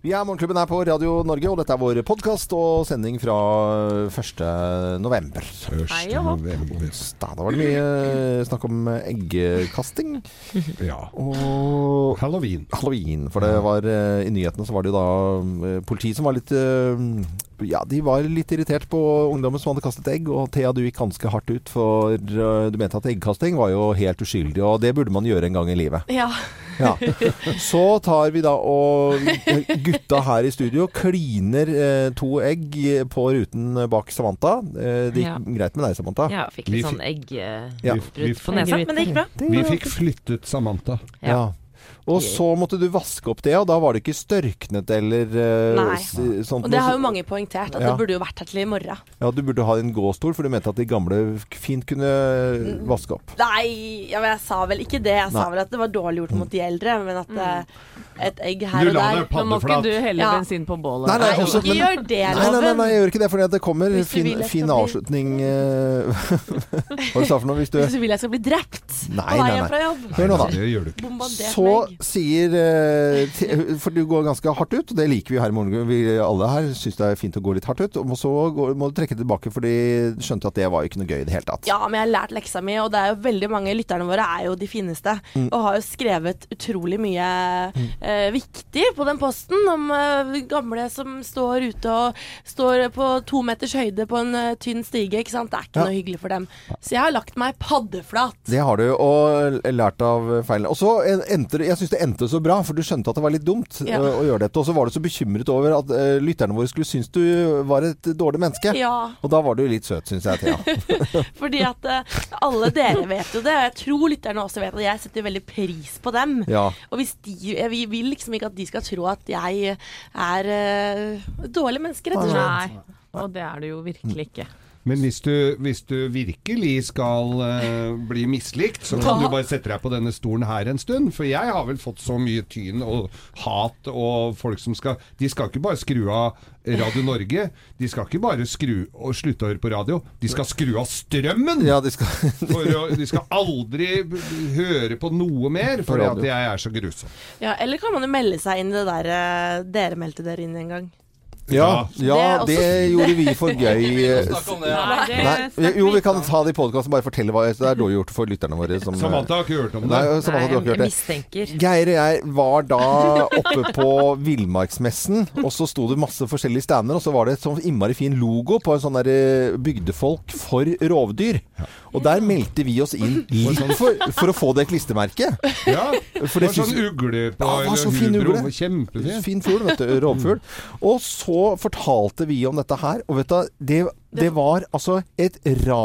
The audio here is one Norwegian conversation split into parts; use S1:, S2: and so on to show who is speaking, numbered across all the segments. S1: Vi er Morgenklubben her på Radio Norge, og dette er vår podkast og sending fra 1. november.
S2: Hei
S3: Første
S2: og hopp.
S3: november.
S1: Da, da var det mye eh, snakk om eggkasting
S3: Ja.
S1: og
S3: Halloween.
S1: halloween. For det var eh, i nyhetene så var det jo da eh, politiet som var litt eh, Ja, de var litt irritert på ungdommen som hadde kastet egg. Og Thea, du gikk ganske hardt ut, for eh, du mente at eggkasting var jo helt uskyldig. Og det burde man gjøre en gang i livet.
S2: Ja.
S1: Ja. Så tar vi da og Gutta her i studio kliner eh, to egg på ruten bak Samantha. Eh, det gikk
S2: Ja.
S1: greit med deg, Samantha.
S2: ja, fikk
S3: Vi
S2: litt
S3: fikk-
S2: sånn eggrut
S1: Ja.
S3: Vi, vi,
S2: på nesa, men det gikk bra.
S3: vi fikk flyttet Samantha.
S2: Ja.
S1: Ja. Og så måtte du vaske opp det, og da var det ikke størknet eller eh,
S4: Nei.
S1: s- sånt.
S4: Og det har jo
S1: noe.
S4: mange poengtert, at
S1: Ja.
S4: det burde jo vært her til i morgen.
S1: Ja, du burde ha en gåstol, for du mente at de gamle fint kunne
S4: Mm.
S1: vaske opp.
S4: Nei, ja, men jeg sa vel ikke det. Jeg sa
S1: Nei. Mm.
S4: vel at det var dårlig gjort mot de eldre, men at eh, et egg
S3: Du
S4: her og
S3: la
S4: der
S3: deg på-
S2: Nå må ikke
S3: Paddeflat.
S2: du helle
S4: Ja.
S2: bensin på bålet.
S1: Nei, sånn- nei,
S4: Nei,
S1: også-
S4: ikke
S1: men-
S4: gjør det,
S1: Nei, nei,
S4: loven!
S1: nei, nei, jeg gjør ikke det, for det kommer
S4: Hvis du
S1: fin,
S4: vil jeg skal
S1: fin
S4: bli-
S1: avslutning eh, Hva sa du for noe? Hvis du
S4: Hvis du vil jeg skal bli drept
S1: Nei,
S4: på
S1: nei,
S4: veien
S1: nei.
S4: fra jobb.
S1: Hør nå, da.
S3: Det gjør du ikke.
S4: Bombardert
S1: Så
S4: med egg.
S1: sier eh, te- For du går ganske hardt ut, og det liker vi her i morgen. Vi alle her syns det er fint å gå litt hardt ut. Og så går, må du trekke tilbake, for de skjønte at det var jo ikke noe gøy i det hele tatt.
S4: Ja, men jeg har lært leksa mi, og det er jo veldig mange lytterne våre er jo de fineste.
S1: Mm.
S4: Og har jo skrevet utrolig mye eh, viktig på den posten om eh, gamle som står ute og står på to meters høyde på en eh, tynn stige, ikke sant. Det er ikke
S1: Ja.
S4: noe hyggelig for dem. Så jeg har lagt meg paddeflat.
S1: Det har du, og lært av feilene. Og så en- endte det Jeg syns det endte så bra, for du skjønte at det var litt dumt
S4: Ja.
S1: eh, å gjøre dette. Og så var du så bekymret over at eh, lytterne våre skulle synes du var et dårlig menneske.
S4: Ja,
S1: Og da var du litt søt, syns jeg, Thea.
S4: fordi at eh, alle dere vet jo det, og jeg tror lytterne også vet at jeg setter veldig pris på dem.
S1: Ja.
S4: Og hvis de, jeg vil- vil liksom ikke at de skal tro at jeg er eh, dårlige mennesker, rett og
S1: sånn-
S4: slett.
S2: Nei, og det er det jo
S1: Mm.
S2: virkelig ikke.
S3: Men hvis du, hvis du virkelig skal eh, bli mislikt, så kan du bare sette deg på denne stolen her en stund. For jeg har vel fått så mye tyn og hat og folk som skal De skal ikke bare skru av Radio Norge. De skal ikke bare skru og slutte å høre på radio. De skal skru av strømmen!
S1: ja, de skal
S3: For å, de skal aldri b- b- høre på noe mer, fordi at
S1: radio.
S3: jeg er så grusom.
S4: Ja, eller kan man jo melde seg inn i det der eh, dere meldte dere inn en gang.
S1: Ja, ja
S4: Det er
S1: det gjorde vi for gøy. eh,
S5: Snakk om det.
S2: Nei, det
S1: Nei,
S2: snakker
S1: jo, vi
S2: ikke
S1: kan
S2: om.
S1: ta det i podkasten. Bare fortelle hva det er dårlig gjort for lytterne våre. Som,
S3: Samantha har ikke hørt om
S1: Nei,
S3: det.
S1: Samantha, du har ikke
S2: jeg
S1: hørt det.
S2: mistenker.
S1: Geir og jeg var da oppe på Villmarksmessen, og så sto det masse forskjellige stander, og så var det et sånn innmari fin logo på en sånn der eh, bygdefolk for rovdyr. Og der meldte vi oss inn litt for, for å få det klistremerket.
S3: Ja,
S1: For
S3: det
S1: det
S3: var sånn
S1: synes-
S3: ugle på
S1: Ja, det var så fin
S3: hubro.
S1: ugle.
S3: Kjempefin.
S1: Fin fugl, vet du. Rovfugl. Og så fortalte vi om dette her, og vet du, det, det var altså et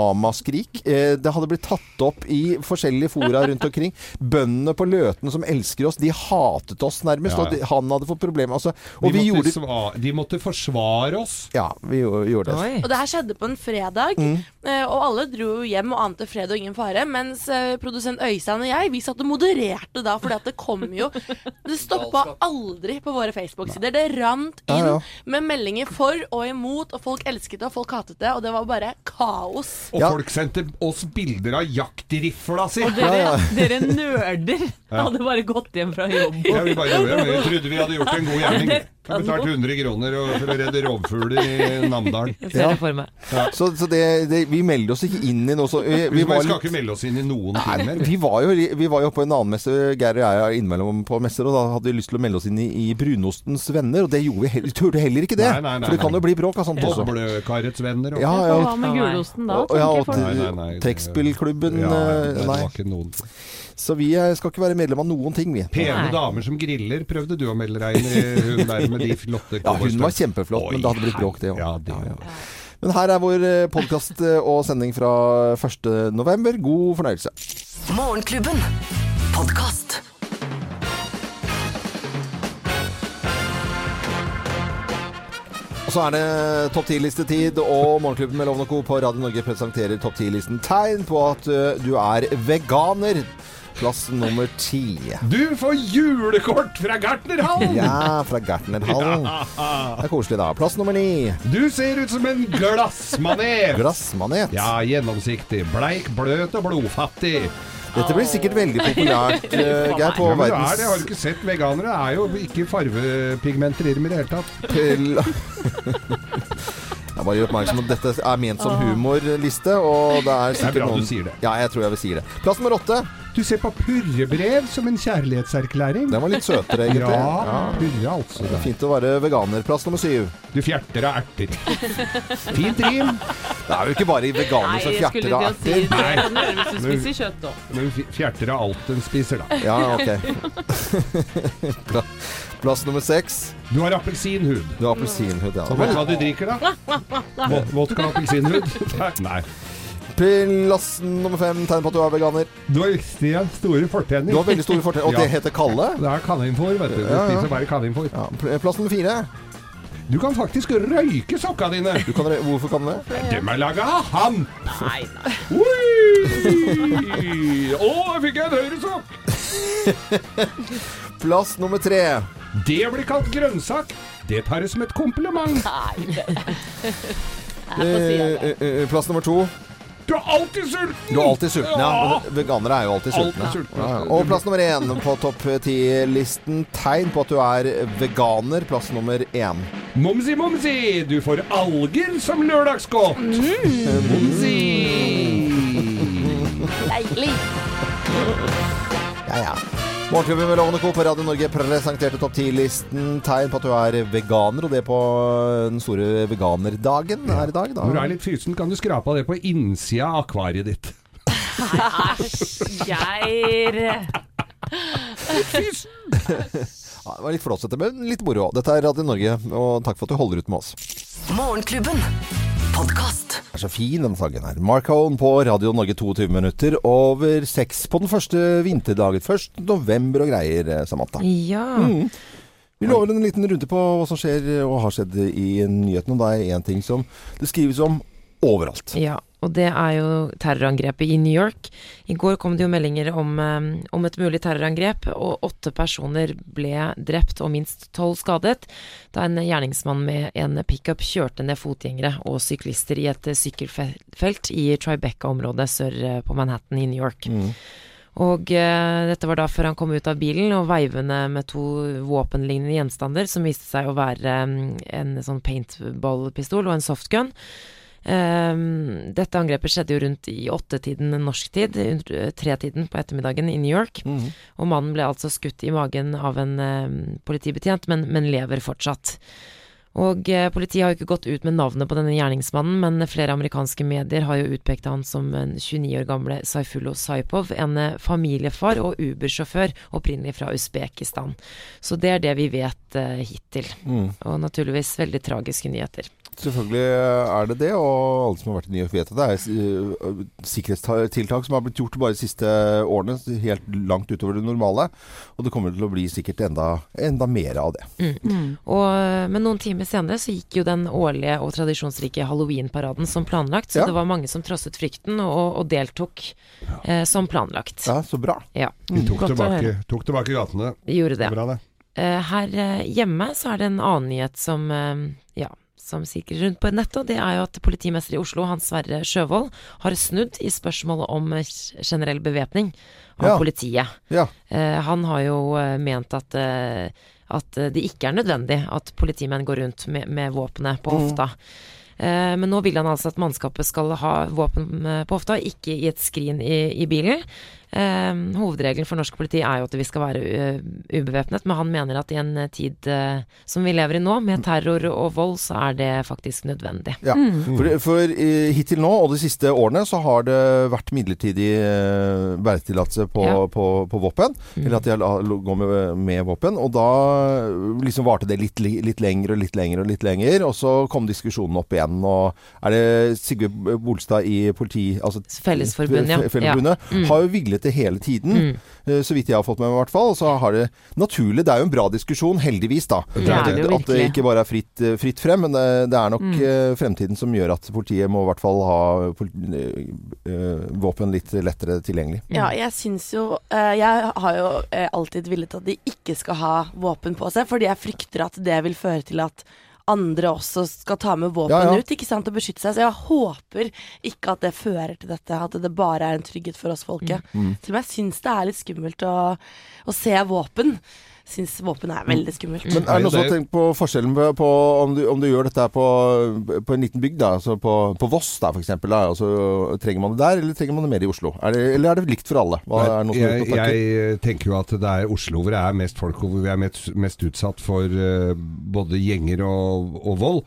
S1: ramaskrik. Eh, Det hadde blitt tatt opp i forskjellige fora rundt omkring. Bøndene på Løten som elsker oss, de hatet oss nærmest.
S3: Ja, ja.
S1: Og de, han hadde fått problemer. Altså,
S3: De
S1: og vi
S3: måtte,
S1: gjorde
S3: sva- de måtte forsvare oss.
S1: Ja, vi jo- gjorde det.
S2: Oi.
S4: Og det her skjedde på en fredag,
S1: Mm.
S4: eh, og alle dro jo hjem og ante fred og ingen fare, mens eh, produsent Øystein og jeg, vi satt og modererte da, fordi at det kom jo Det stoppa
S5: Galskap.
S4: aldri på våre Facebook-sider. Det rant inn
S1: Ja, ja.
S4: med meldinger for og imot, og folk elsket det, og folk hatet det, og det var bare kaos.
S3: Og
S1: Ja.
S3: folk sendte oss bilder av jaktrifla si.
S2: Dere, dere nerder hadde bare gått hjem fra jobb.
S3: Ja, vi bare gjorde det. Vi trodde vi hadde gjort en god gjerning. Vi har betalt 100 kroner og- for å redde rovfugler i Namdalen.
S2: Jeg ser
S1: Ja.
S2: det for meg.
S1: Så, så det, det, vi melder oss ikke inn i noe sånt. Vi,
S3: Vi
S1: vi var
S3: skal
S1: litt
S3: ikke melde oss inn i noen
S1: Nei,
S3: ting mer.
S1: vi,
S3: vi.
S1: var jo, vi var jo oppe på en annen messe, Geir og jeg er innimellom på messer, og da hadde vi lyst til å melde oss inn i, i Brunostens venner, og det gjorde vi heller, turte heller ikke det.
S3: Nei, nei, nei,
S1: for det kan
S3: nei.
S1: jo bli bråk av sånt også.
S3: Boblekarets venner og
S1: altså. Ja, ja.
S2: Og hva med gulosten da?
S1: Og, ja, og
S2: tenker folk?
S3: Nei, nei, nei, det-
S1: trekkspillklubben
S3: Ja,
S1: eh,
S3: det
S1: Nei.
S3: var ikke noen
S1: Så vi eh, skal ikke være medlem av noen ting, vi.
S3: Pene
S2: Nei.
S3: damer som griller prøvde du å melde deg inn i, hun der med de flotte
S1: Ja, hun var
S3: cowboystøvlene.
S1: kjempeflott, men
S3: Oi,
S1: det hadde blitt bråk, det òg.
S3: Ja, det
S1: Ja, ja.
S3: var-
S1: Men her er vår podkast og sending fra 1. november. God fornøyelse.
S6: Morgenklubben. Podkast.
S1: Og så er det topp 10-listetid, og Morgenklubben med Lovende Co. på Radio Norge presenterer topp 10-listen tegn på at ø, du er veganer. Plass nummer ti.
S3: Du får julekort fra Gartnerhallen!
S1: Ja, fra Gartnerhallen. Det er koselig, da. Plass nummer ni.
S3: Du ser ut som en glassmanet!
S1: Glassmanet.
S3: Ja, gjennomsiktig, bleik, bløt og blodfattig.
S1: Dette blir sikkert veldig populært, eh, Geir, på
S3: Ja, men det er det, har du
S1: verdens...
S3: ikke sett veganere? Det er jo ikke farvepigmenter i dem i det hele tatt.
S1: Pel- Jeg bare gjør oppmerksom på at dette er ment som humorliste, og det er sikkert
S3: bra du
S1: noen
S3: sier det.
S1: Ja, jeg tror jeg vil si det. Plass nummer åtte.
S3: Du ser på purrebrev som en kjærlighetserklæring.
S1: Den var litt søtere, egentlig.
S3: Ja, purre altså.
S1: Ja.
S3: Da.
S1: Fint å være veganer. Plass nummer syv.
S3: Du fjerter av erter. Fint rim.
S1: Det er jo ikke bare veganer som
S2: jeg
S1: fjerter
S2: skulle til
S1: av
S2: å
S1: erter.
S2: si det. Sånn, Det kan du gjøre hvis du spiser kjøtt òg.
S3: Men f- fjerter av alt den spiser, da.
S1: Ja, ok. Pla- Plass nummer seks.
S3: Du har appelsinhud.
S1: Du har appelsinhud, ja.
S3: Og vet du hva du drikker, da? Vod- Vodka og appelsinhud. Nei.
S1: Plass nummer fem. Tegn på at du er veganer.
S3: Du har riktige store fortenner.
S1: Du har veldig store fortrinn. Og det
S3: Ja.
S1: heter Kalle.
S3: Det er kaninfår, vet du. Du
S1: Ja, ja.
S3: spiser bare kaninfår.
S1: Ja, pl- plass nummer fire.
S3: Du kan faktisk røyke sokka dine.
S1: Du kan, re- hvorfor kan du det?
S3: Dem er laga av han.
S2: Nei, nei.
S3: Ui! Å, jeg fikk en høyre sokk!
S1: Plass nummer tre.
S3: Det blir kalt grønnsak. Det tar jeg som et kompliment.
S2: Jeg får si
S1: Eh,
S2: det.
S1: eh, eh, Plass nummer to.
S3: Du er alltid sulten!
S1: Du er alltid sulten, ja. Veganere er jo alltid
S3: Alltid
S1: sultne.
S3: sultne.
S1: Ja, ja. Og plass nummer én på topp ti-listen. Tegn på at du er veganer. Plass nummer én.
S3: Momsi, momsi, du får alger som lørdagsgodt.
S1: Mm.
S3: Momsi!
S4: Deilig.
S1: Ja, ja. Morgenklubben med Lovende Co. på Radio Norge presenterte topp 10-listen tegn på at du er veganer, og det på den store veganerdagen her i dag. Da.
S3: Når du er litt fysen, kan du skrape av det på innsida av akvariet ditt.
S2: Geir.
S1: Ja, det var litt flåsete, men litt moro òg. Dette er Radio Norge, og takk for at du holder ut med oss.
S6: Morgenklubben. Podkast.
S1: Det er så fin den sangen her. Mark Hone på Radio Norge 22 minutter over seks på den første vinterdagen. Først november og greier, eh, Samantha.
S2: Ja.
S1: Vi lover en liten runde på hva som skjer eh, og har skjedd i nyhetene. Og det er én ting som det skrives om overalt.
S5: Ja, og det er jo terrorangrepet i New York. I går kom det jo meldinger om, eh, om et mulig terrorangrep, og åtte personer ble drept og minst tolv skadet da en gjerningsmann med en pickup kjørte ned fotgjengere og syklister i et eh, sykkelfelt i Tribeca-området sør eh, på Manhattan i New York.
S1: Mm,
S5: Og eh, dette var da før han kom ut av bilen og veivende med to våpenlignende gjenstander, som viste seg å være mm, en sånn paintballpistol og en softgun. Ehm, dette angrepet skjedde jo rundt i åttetiden norsk tid, rundt, eh, tretiden på ettermiddagen i New York.
S1: mm,
S5: Og mannen ble altså skutt i magen av en ehm, politibetjent, men, men lever fortsatt. Og eh, politiet har jo ikke gått ut med navnet på denne gjerningsmannen, men flere amerikanske medier har jo utpekt han som en 29 år gamle Saifullo Saipov, en eh, familiefar og Uber-sjåfør, opprinnelig fra Usbekistan. Så det er det vi vet eh, hittil.
S1: mm.
S5: Og naturligvis veldig tragiske nyheter.
S1: Selvfølgelig er det det, og alle som har vært i New York vet at det er eh, sikkerhetstiltak som har blitt gjort bare de siste årene, helt langt utover det normale. Og det kommer til å bli sikkert enda, enda mer av det.
S5: Og, eh, men noen timer senere så gikk jo den årlige og tradisjonsrike halloween-paraden som planlagt, så
S1: Ja.
S5: det var mange som trosset frykten og, og deltok eh, som planlagt.
S1: Ja, så bra.
S5: Ja.
S3: Vi tok
S5: Godt å
S3: tilbake,
S5: høre.
S3: tok tilbake gatene.
S5: Gjorde det.
S3: Bra, det.
S5: Eh, her eh, hjemme så er det en annen nyhet som, eh, ja, som sikrer rundt på nettet, og det er jo at politimester i Oslo, Hans Sverre Sjøvold, har snudd i spørsmålet om eh, generell bevæpning av
S1: Ja.
S5: politiet.
S1: Ja.
S5: Eh, han har jo eh, ment at, eh, at eh, det ikke er nødvendig at politimenn går rundt med, med våpenet
S1: Mm.
S5: på hofta. Eh, men nå vil han altså at mannskapet skal ha våpen eh, på hofta, ikke i et skrin i, i bilen. Eh, hovedregelen for norsk politi er jo at vi skal være eh, ubevæpnet, men han mener at i en eh, tid eh, som vi lever i nå, med terror og vold, så er det faktisk nødvendig.
S1: Ja. For, for eh, hittil nå og de siste årene så har det vært midlertidig eh, bæretillatelse på,
S5: Ja.
S1: på, på våpen. Eller at de har la- lo- går med, med våpen. Og da eh, liksom varte det litt, li- litt lenger og litt lenger og litt lenger. Og så kom diskusjonen opp igjen. Og er det Sigve Bolstad i politi... Altså,
S5: Fellesforbundet, ja. Mm.
S1: Fe- Fellesforbundet har jo villet det hele tiden. eh, Så vidt jeg har fått med meg i hvert fall. Og så har det naturlig Det er jo en bra diskusjon, heldigvis, da.
S5: Det er det jo
S1: at det
S5: virkelig. Mm.
S1: ikke bare er fritt, eh, fritt frem, men det, det er nok eh, fremtiden som gjør at politiet må i hvert fall ha poli- eh, eh, våpen litt lettere tilgjengelig.
S4: Ja, jeg syns jo eh, Jeg har jo eh, alltid villet at de ikke skal ha våpen på seg, fordi jeg frykter at det vil føre til at andre også skal ta med våpen
S1: Ja, ja.
S4: ut ikke sant, og beskytte seg. Så jeg håper ikke at det fører til dette, at det bare er en trygghet for oss folket.
S1: Mm,
S4: Til og med jeg syns det er litt skummelt å, å se våpen. Syns våpen er veldig skummelt.
S1: Men er det noen som har
S3: Det-
S1: tenkt på forskjellen på, på om, du, om du gjør dette her på, på en liten bygd, da, altså på, på Voss da, for eksempel, da, altså, trenger man det der, eller trenger man det mer i Oslo? Er det, eller er det likt for alle? Hva, er det noen som har
S3: jeg,
S1: gjort noen tanker?
S3: jeg tenker jo at det er Oslo hvor det er mest folk, og hvor vi er mest, mest utsatt for eh, både gjenger og, og vold.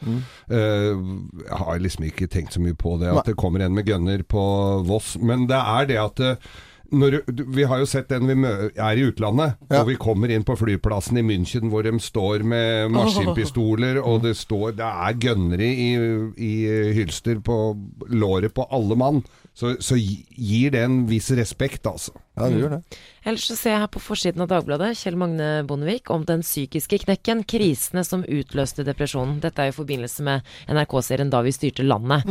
S3: Eh, jeg har liksom ikke tenkt så mye på det, at det kommer en med gønner på Voss. Men det er det at eh, når, du- vi har jo sett den vi mø er i utlandet,
S1: Ja.
S3: og vi kommer inn på flyplassen i München hvor de står med maskinpistoler, og det, står, det er gønnere i, i hylster på låret på alle mann. Så, så gi- gir det en viss respekt, altså.
S1: Ja, du gjør det.
S5: Ellers så ser jeg her på forsiden av Dagbladet Kjell Magne Bondevik om den psykiske knekken, krisene som utløste depresjonen. Dette er i forbindelse med NRK-serien Da vi styrte landet,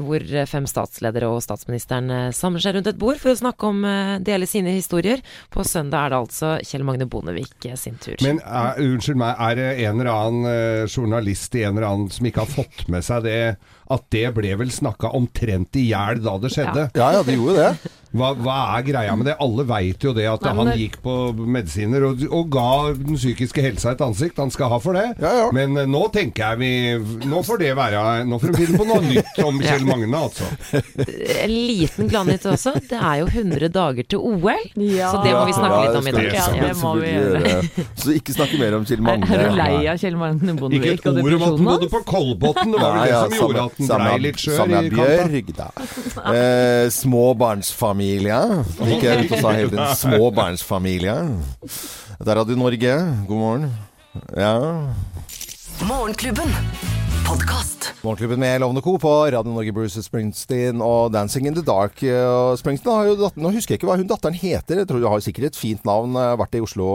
S5: hvor eh, fem statsledere og statsministeren eh, samler seg rundt et bord for å snakke om eh, dele sine historier. På søndag er det altså Kjell Magne Bondevik eh, sin tur.
S3: Men er, unnskyld meg, er det en eller annen eh, journalist i en eller annen som ikke har fått med seg det, at det ble vel snakka omtrent i hjel da det skjedde?
S1: Ja, ja, det gjorde det.
S3: Hva, hva er greia med det? Alle veit jo det at
S5: Nei, men
S3: han
S5: det-
S3: gikk på medisiner og, og ga den psykiske helsa et ansikt. Han skal ha for det.
S1: Ja, ja.
S3: Men eh, nå tenker jeg vi Nå får det være Nå får de finne på noe nytt om Kjell Magne, altså.
S5: En liten gladnytt også. Det er jo 100 dager til OL,
S1: Altså,
S2: Ja.
S5: så det må vi snakke litt om i
S1: skal
S5: dag.
S1: vi
S2: Ja, det må vi
S1: selvfølgelig gjøre. Så ikke snakke mer om Kjell
S2: Er,
S1: Magne.
S2: er du lei av Kjell Magne
S3: Ikke
S2: Bondevik
S3: et ord om at han bodde på Kolbotn. Det var
S1: Nei,
S3: vel det
S1: ja,
S3: som gjorde
S1: samme-
S3: at han
S1: samme-
S3: blei litt skjør
S1: samme
S3: i kanta.
S1: Bjørg, da. Eh, Småbarnsfamilie. Fikk jeg rundt og sa hele tiden. Småbarnsfamilie. Der hadde du Norge. God morgen. Ja.
S6: Morgenklubben. Podkast.
S1: Morgenklubben med Lovende Co. på Radio Norge, Bruce Springsteen og Dancing in the Dark. Og Springsteen har jo datter, Nå husker jeg ikke hva hun datteren heter. Jeg tror Hun har sikkert et fint navn. eh, Vært, i Oslo,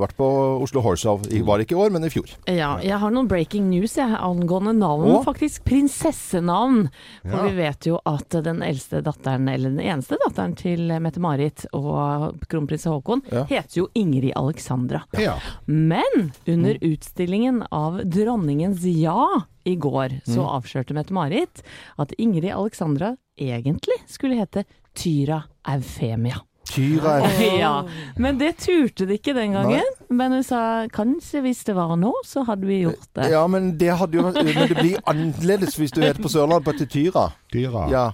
S1: vært på Oslo Horse Show. I- Var ikke i år, men i fjor.
S2: Ja, jeg har noen breaking news jeg, angående navn,
S1: Å?
S2: faktisk. Prinsessenavn. For
S3: Ja.
S2: vi vet jo at den eldste datteren, eller den eneste datteren til Mette-Marit og kronprins Haakon,
S1: Ja.
S2: heter jo Ingrid Alexandra.
S3: Ja.
S2: Men under utstillingen av Dronningens ja i går, så avslørte Mette-Marit at Ingrid Alexandra egentlig skulle hete Tyra Eufemia.
S1: Tyra er
S2: Ja, men det turte de ikke den gangen. Men hun sa kanskje hvis det var nå, så hadde vi gjort det.
S1: Ja, men det, hadde jo, vært- men det blir annerledes hvis du heter på Sørlandet på til Tyra.
S3: Dyra.
S1: Ja.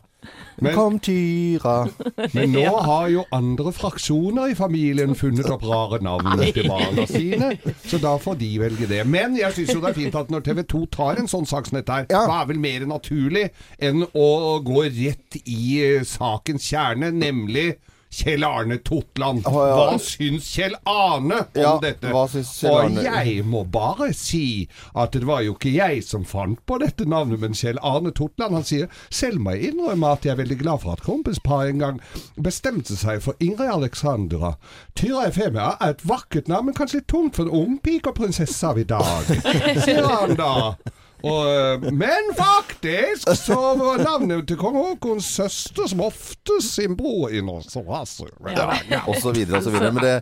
S3: Men-
S1: Kom, Tyra.
S3: Men nå har jo andre fraksjoner i familien funnet opp rare navn til barna sine, så da får de velge det. Men jeg syns jo det er fint at når TV 2 tar en sånn saksnett her,
S1: Ja.
S3: hva er vel mer naturlig enn å gå rett i eh, sakens kjerne, nemlig Kjell Arne Totland.
S1: Å, ja.
S3: Hva syns Kjell Arne om
S1: Ja,
S3: dette?
S1: hva syns Kjell Arne?
S3: Og jeg må bare si at det var jo ikke jeg som fant på dette navnet, men Kjell Arne Totland. Han sier selv må jeg innrømme at jeg er veldig glad for at kronprinsparet en gang bestemte seg for Ingrid Alexandra. Tyra Efemia er et vakkert navn, men kanskje litt tungt for en ung pike og prinsesse av i dag, sier han da. Og, eh, men faktisk så var navnet til kong Haakons søster som oftest sin bror i Norse Vassur.
S1: Og så videre og så videre. Men det,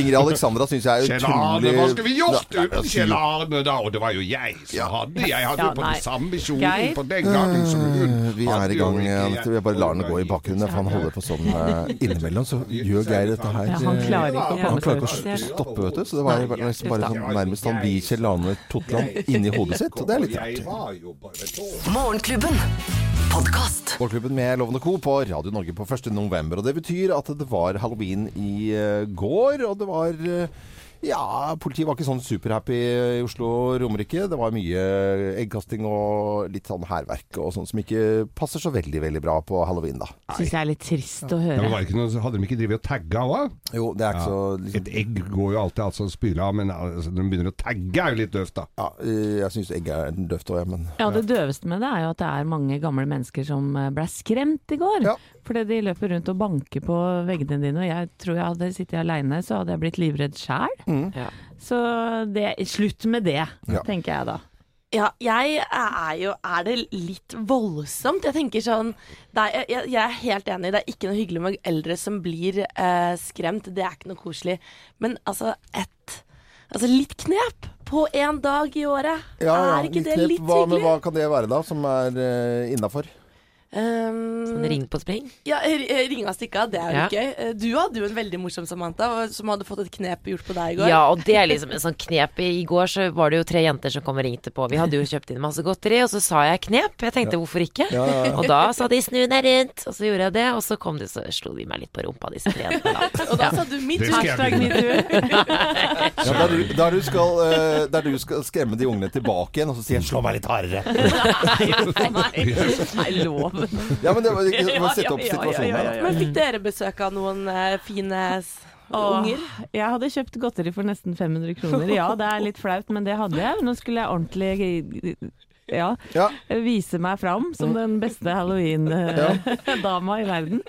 S1: Ingrid Alexandra syns jeg er
S3: Kjell
S1: utrolig
S3: Arne, hva skulle vi gjort
S1: Nei,
S3: uten Kjell Arne da? Og det var jo jeg som hadde Jeg hadde jo
S2: Ja,
S3: på
S2: nei.
S3: den samme kjolen
S2: Geir?
S3: på den gangen som hun.
S1: Eh, Vi er
S3: hadde
S1: i
S3: jo
S1: gang.
S3: ikke
S1: Anette. Jeg bare lar den gå i bakgrunnen, for han holder på sånn eh, innimellom. Så gjør Geir dette her.
S2: Ja, han klarer ikke å
S1: Han
S2: komme
S1: klarer
S2: seg
S1: ikke å stoppe, vet du. Så det var jo bare- nesten bare sånn nærmest han blir Kjell Arne Totland inni hodet sitt. Og det er litt
S3: Jeg
S1: rart.
S3: var jo bare dårlig.
S6: Morgenklubben. Podkast.
S1: Morgenklubben med Lovende Co. på Radio Norge på 1. november. Og det betyr at det var halloween i eh, går, og det var eh, ja, politiet var ikke sånn superhappy i Oslo og Romerike. Det var mye eggkasting og litt sånn hærverk og sånt som ikke passer så veldig, veldig bra på halloween, da.
S2: Syns jeg er litt trist å
S3: Ja, men
S2: høre.
S3: var det ikke noe, hadde de ikke drevet og tagga òg?
S1: Jo, det er ikke så liksom,
S3: Et egg går jo alltid altså, å spyle av, men altså, når de begynner å tagge er jo litt døvt, da.
S1: ja, eh, Jeg syns egg er døvt òg, jeg, men
S2: Ja, Det døveste med det er jo at det er mange gamle mennesker som eh, ble skremt i går.
S1: Ja.
S2: Fordi de løper rundt og banker på veggene dine, og jeg tror jeg hadde sittet aleine, så hadde jeg blitt livredd sjæl.
S5: Ja.
S2: Så det, slutt med det,
S1: Ja.
S2: tenker jeg da.
S4: Ja, jeg er jo Er det litt voldsomt? Jeg tenker sånn det er, jeg, jeg er helt enig, det er ikke noe hyggelig med eldre som blir eh, skremt. Det er ikke noe koselig. Men altså, ett Altså litt knep på på én dag i året.
S1: Ja, ja,
S4: er ikke det
S1: knep.
S4: litt
S1: hva, men
S4: hyggelig?
S1: hva kan det være da, som er uh, innafor?
S4: Um,
S5: Sånn ring på spring.
S4: Ja, eh, r- ringa stikka, det er jo
S5: Ja.
S4: gøy. Eh, Du hadde jo en veldig morsom Samantha, og- som hadde fått et knep gjort på deg i går.
S5: Ja, og det er liksom en sånn knep. I i går så var det jo tre jenter som kom og ringte på. Vi hadde jo kjøpt inn masse godteri, og så sa jeg knep. Jeg tenkte hvorfor ikke?
S1: Ja, ja, ja.
S5: Og da sa de snu deg rundt, og så gjorde jeg det. Og så kom de, så slo de meg litt på rumpa, disse tre jentene. da.
S4: Og da sa du mitt
S3: Det skal jeg
S4: hashtag
S3: begynne med.
S4: metoo.
S1: Ja, der, du, der, du skal, eh, der du skal skremme de ungene tilbake igjen, og så sier jeg 'slå meg litt hardere'.
S2: Nei, lov.
S1: Ja, men det var, det var å sette opp situasjonen her. da.
S4: Men fikk dere besøk av noen eh, fine s- unger?
S2: Jeg hadde kjøpt godteri for nesten 500 kroner. Ja, det er litt flaut, men det hadde jeg. Nå skulle jeg ordentlig ja,
S1: Ja.
S2: vise meg fram
S1: Mm.
S2: som den beste halloween-dama i verden.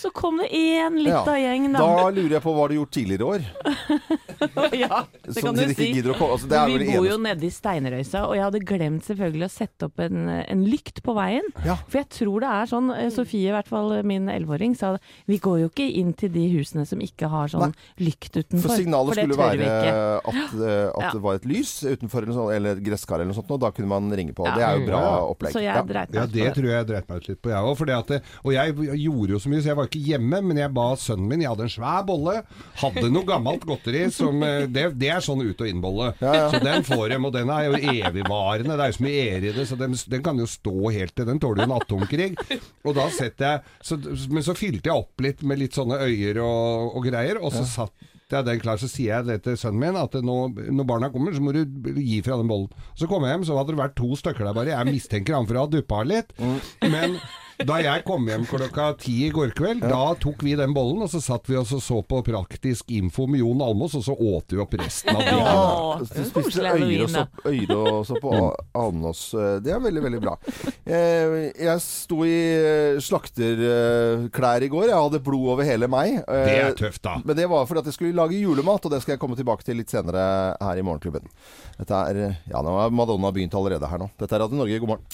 S2: Så kom det én
S1: Ja.
S2: lita gjeng, da.
S1: Da lurer jeg på hva du har gjort tidligere i år.
S2: Ja, det
S1: Sånn
S2: kan
S1: at
S2: du
S1: de ikke
S2: si.
S1: gidder å komme. Altså, det er vel
S2: vi
S1: det
S2: bor jo
S1: eneste-
S2: nede i Steinrøysa, og jeg hadde glemt selvfølgelig å sette opp en, en lykt på veien.
S1: Ja.
S2: For jeg tror det er sånn, eh, Sofie i hvert fall, min 11-åring, sa det, vi går jo ikke inn til de husene som ikke har sånn lykt utenfor.
S1: For signalet
S2: det
S1: skulle
S2: tør
S1: være
S2: vi ikke.
S1: at, eh, at
S2: Ja.
S1: det var et lys utenfor eller, sånn, eller et gresskar eller noe sånt, og da kunne man ringe på.
S2: Ja.
S1: Det er jo bra opplegg.
S2: Så jeg
S1: Ja.
S2: dreit
S3: Ja,
S2: meg ut
S3: det
S2: på det.
S3: tror jeg jeg dreit meg ut litt på, jeg òg. Og jeg gjorde jo så mye, så jeg var ikke hjemme. Men jeg ba sønnen min Jeg hadde en svær bolle. Hadde noe gammelt godteri som eh, Det, det er sånn ut- og innbolle. Så den får dem, og den er jo evigvarende. Det er jo så mye ære i det, så den, den kan jo stå helt til Den tåler jo en atomkrig. Og da setter jeg så, Men så fylte jeg opp litt med litt sånne øyer og, og greier, og så satt jeg den klar, så sier jeg det til sønnen min, at nå, når barna kommer, så må du gi fra den bollen. Så kom jeg hjem, så hadde det vært to stykker der bare. Jeg mistenker han for å ha duppa litt. Men da jeg kom hjem klokka ti i går kveld, da tok vi den bollen, og så satt vi og så så på praktisk info med Jon Almås, og så åt vi opp resten av
S1: Ja,
S3: det.
S1: så
S2: Åh, det var
S1: spiste øyre
S2: koselig
S1: og
S2: halloween, da.
S1: sopp, øyre og sopp og
S2: Mm.
S1: ananas. Det er veldig, veldig bra. Eh, Jeg sto i eh, slakterklær i går. Jeg hadde blod over hele meg. Eh,
S3: Det er tøft, da.
S1: Men det var fordi at jeg skulle lage julemat, og det skal jeg komme tilbake til litt senere her i Morgenklubben. Dette er Ja, nå har Madonna begynt allerede her nå. Dette er Radio Norge, god morgen.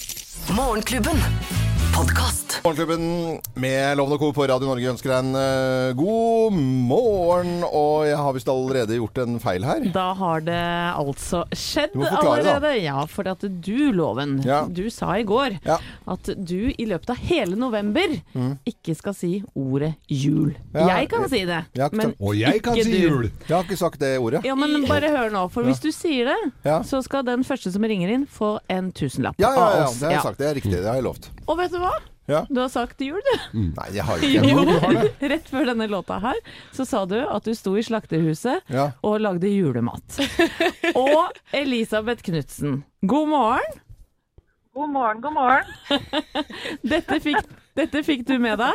S6: Morgenklubben. Podkast.
S1: Morgenklubben med Lovende Co. på Radio Norge ønsker deg en eh, god morgen. Og jeg har visst allerede gjort en feil her.
S2: Da har det altså skjedd
S1: Du må forklare, da.
S2: allerede. Ja, for at du, Loven,
S1: Ja.
S2: du sa i går
S1: Ja. Mm.
S2: at du i løpet av hele november ikke skal si ordet jul.
S1: Ja.
S2: Jeg kan si det,
S1: Ja, ikke
S2: men
S1: sant.
S3: Og jeg kan
S2: Ikke
S3: si
S2: du.
S3: jul.
S1: Jeg har ikke sagt det ordet.
S2: ja, men bare hør nå, for hvis du sier det,
S1: Ja.
S2: så skal den første som ringer inn få en tusenlapp
S1: Ja, ja, ja,
S2: av oss.
S1: det har jeg
S2: Ja.
S1: sagt. Det er riktig. Det har jeg lovt.
S2: Og vet du hva?
S1: Ja.
S2: Du har sagt jul, du.
S1: Nei, jeg har ikke
S2: Mm. Jo,
S1: det.
S2: rett før denne låta her, så sa du at du sto i slakterhuset
S1: Ja.
S2: og lagde julemat. Og Elisabeth Knutsen, god morgen.
S7: God morgen, god morgen.
S2: Dette fikk, dette fikk du med deg.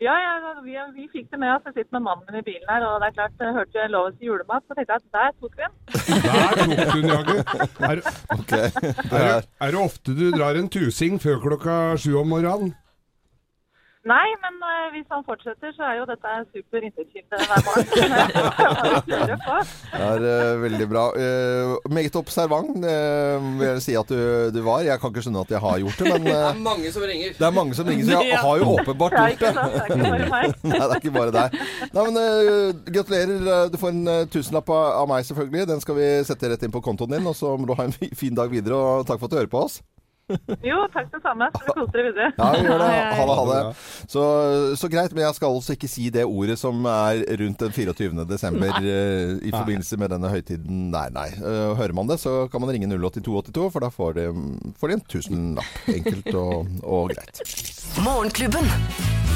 S7: Ja, ja, altså, vi, vi fikk det med oss. Jeg sitter med mannen min i bilen her, og det er klart, jeg hørte lovens julemat, så tenkte jeg at der tok vi den.
S3: Der tok du den, Jaggu. Er,
S1: Ok. Det er-
S3: er, er det ofte du drar en tusing før klokka sju om morgenen?
S7: Nei, men eh, hvis han fortsetter, så er jo dette en super inntektskilde hver morgen.
S1: Det er eh, veldig bra. Eh, meget observant eh, vil jeg si at du, du var. Jeg kan ikke skjønne at jeg har gjort det, men eh,
S8: Det er mange som ringer.
S1: det er mange som ringer, så jeg har jo åpenbart
S7: det er
S1: gjort
S7: ikke
S1: det.
S7: sant, det er ikke bare meg.
S1: Nei, det er ikke bare deg. Nei, men eh, Gratulerer. eh, Du får en eh, tusenlapp av, av meg, selvfølgelig. Den skal vi sette rett inn på kontoen din. Og så må du ha en fi- fin dag videre, og takk for at du hører på oss.
S7: Jo, takk det samme. Skal vi kose dere videre?
S1: Ja, vi gjør det.
S2: Hei, hei.
S1: Ha det, ha det. Så, så greit, men jeg skal altså ikke si det ordet som er rundt den 24. desember eh, i forbindelse med denne høytiden. Nei, nei. Eh, hører man det, så kan man ringe 08282, for da får de, får de en tusenlapp. Enkelt og, og greit.
S6: Morgenklubben.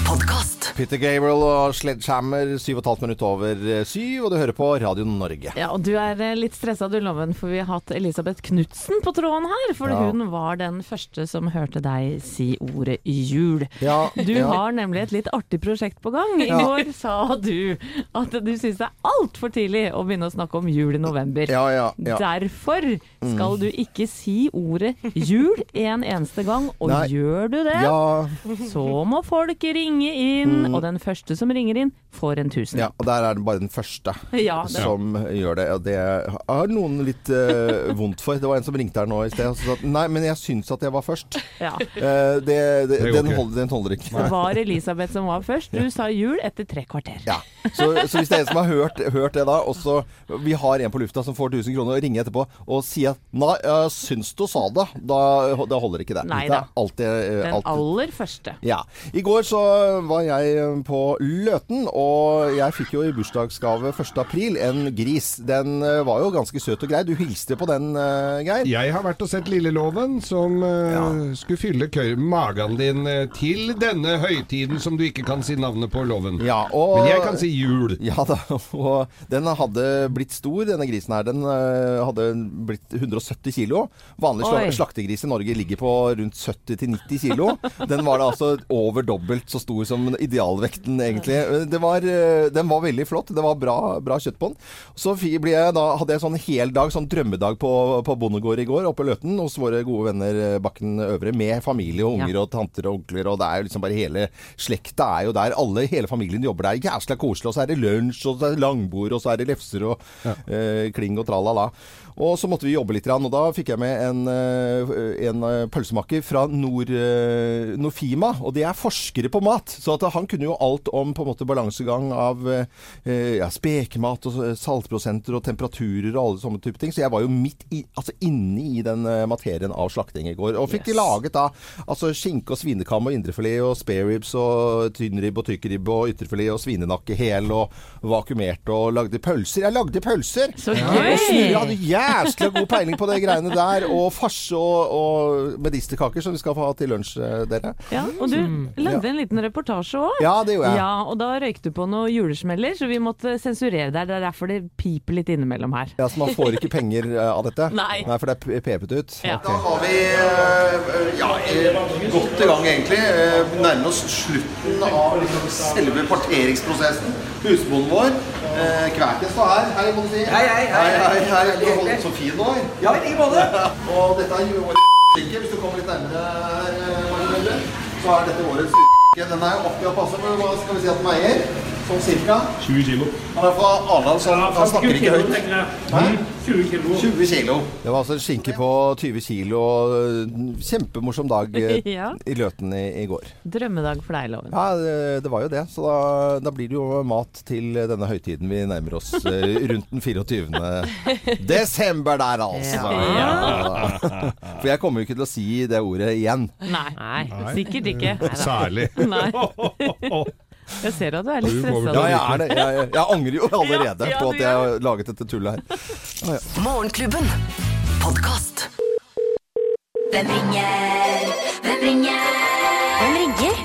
S6: Podkast.
S1: Peter Gabriel og Sledgehammer, 7,5 minutter over eh, syv, og du hører på Radio Norge.
S2: Ja, og Du er eh, litt stressa du, Loven, for vi har hatt Elisabeth Knutsen på tråden her. For
S1: Ja.
S2: hun var den første som hørte deg si ordet jul.
S1: Ja,
S2: Du
S1: ja.
S2: har nemlig et litt artig prosjekt på gang. I går sa du at du syns det er altfor tidlig å begynne å snakke om jul i november.
S1: Ja, ja, ja. Mm.
S2: Derfor skal du ikke si ordet jul en eneste gang, og
S1: Nei.
S2: gjør du det,
S1: Ja, Mm.
S2: så må folk ringe ringe inn, og den første som ringer inn, får en tusen.
S1: Ja, og der er det bare den første
S2: Ja, det-
S1: som gjør det. Og det har noen litt eh, vondt for. Det var en som ringte her nå i sted og sa at nei, men jeg syns at jeg var først.
S2: Ja.
S1: Eh, det, det,
S3: Det går
S1: den,
S3: ikke.
S1: holder, den holder ikke.
S2: Det var Elisabeth som var først. Du sa jul etter tre kvarter.
S1: Ja. Så, så hvis det er en som har hørt, hørt det da, og så vi har en på lufta som får 1000 kroner, og ringer etterpå og sier at nei, jeg syns du sa det, da, da holder ikke det.
S2: Nei
S1: det
S2: da.
S1: er alltid, eh,
S2: Den
S1: alltid
S2: aller første.
S1: Ja. I går så var jeg eh, på Løten, og jeg fikk jo i bursdagsgave 1. april en gris. Den eh, var jo ganske søt og grei. Du hilste på den, eh, Geir.
S3: Jeg har vært og sett Lilleloven, som eh, skulle fylle køy- magen din eh, til denne høytiden som du ikke kan si navnet på loven.
S1: Ja, og...
S3: Men jeg kan si jul.
S1: Ja da, og den hadde blitt stor, denne grisen her. Den eh, hadde blitt 170 kilo. Vanlig sla
S2: Oi.
S1: slaktegris i Norge ligger på rundt 70-90 kilo. Den var da altså over dobbelt så stor som idealvekten, egentlig. Eh, Det var, eh, den var veldig flott. Det var bra, bra kjøtt på den. Så fi- ble jeg, da hadde jeg sånn hel dag, sånn drømmedag på, på bondegård i går, oppe i Løten, hos våre gode venner eh, Bakken Øvre, med familie og unger og tanter og onkler, og det er jo liksom bare hele slekta er jo der. Alle, hele familien jobber der. Jævla koselig. Og så er det lunsj, og så er det langbord, og så er det lefser og eh, kling og tralala. Og så måtte vi jobbe litt, grann, og da fikk jeg med en, eh, en eh, pølsemaker fra Nord, eh, Nofima, og de er forskere på mat. Så at han kunne jo alt om på en måte balansegang av eh, eh, ja, spekemat og så- saltprosenter og temperaturer og alle sånne type ting. Så jeg var jo midt i, altså inne i den eh, materien av slakting i går. Og fikk
S2: Yes.
S1: laget da altså skinke og svinekam og indrefilet og spareribs og tynnribb og tykkribbe og ytterfilet og svinenakke hel og vakuumert og lagde pølser. Jeg lagde pølser!
S2: Så
S1: Og Snorre hadde
S2: gøy!
S1: jæskla god peiling på de greiene der. Og farse og, og medisterkaker som vi skal få ha til lunsj, eh, dere.
S2: Ja, og du
S3: Mm.
S2: lagde en liten reportasje òg.
S1: Ja, det gjorde jeg.
S2: Ja, og da røykte du på noen julesmeller, så vi måtte sensurere deg. Det er derfor det piper litt innimellom her.
S1: Ja, Så man får ikke penger eh, av dette?
S2: Nei.
S1: For det er p- pepet ut?
S2: Ja.
S1: Da var vi eh, ja, eh, godt i gang, egentlig. Eh, Nærmer oss slutten av liksom selve parteringsprosessen. Husbonden vår, eh, Kvæken, står her. Hei, må du si.
S8: Hei, hei, hei.
S1: hei, hei. Du har holdt så fin eh. år.
S8: Ja, i like måte.
S1: Og dette er jo årets stikke, hvis du kommer litt nærmere her, eh, Martin Mølle, så er dette årets stikke. Den er oppi av passe, men hva skal vi si at den veier? Sånn cirka. 20 kilo. Han er fra Arendal, så han snakker ikke høyt. 20 kilo. Det var altså en skinke på 20 kilo. eh, Kjempemorsom dag eh,
S2: Ja.
S1: i Løten i, i går.
S2: Drømmedag for deg, Loven.
S1: Ja, eh, det, det var jo det. Så da, da blir det jo mat til denne høytiden vi nærmer oss. eh, Rundt den 24. desember der, altså. For jeg kommer jo ikke til å si det ordet igjen.
S2: Nei,
S5: Nei.
S2: sikkert ikke.
S3: Særlig.
S2: Nei. Jeg ser at du er litt
S3: Du går vel
S1: Ja,
S2: stressa.
S1: jeg, er det. jeg, jeg- jeg angrer jo allerede
S2: Ja, ja,
S1: på
S2: du
S1: at jeg har laget dette tullet her.
S6: Morgenklubben. Podkast. Hvem ringer? Hvem ringer? Hvem ringer?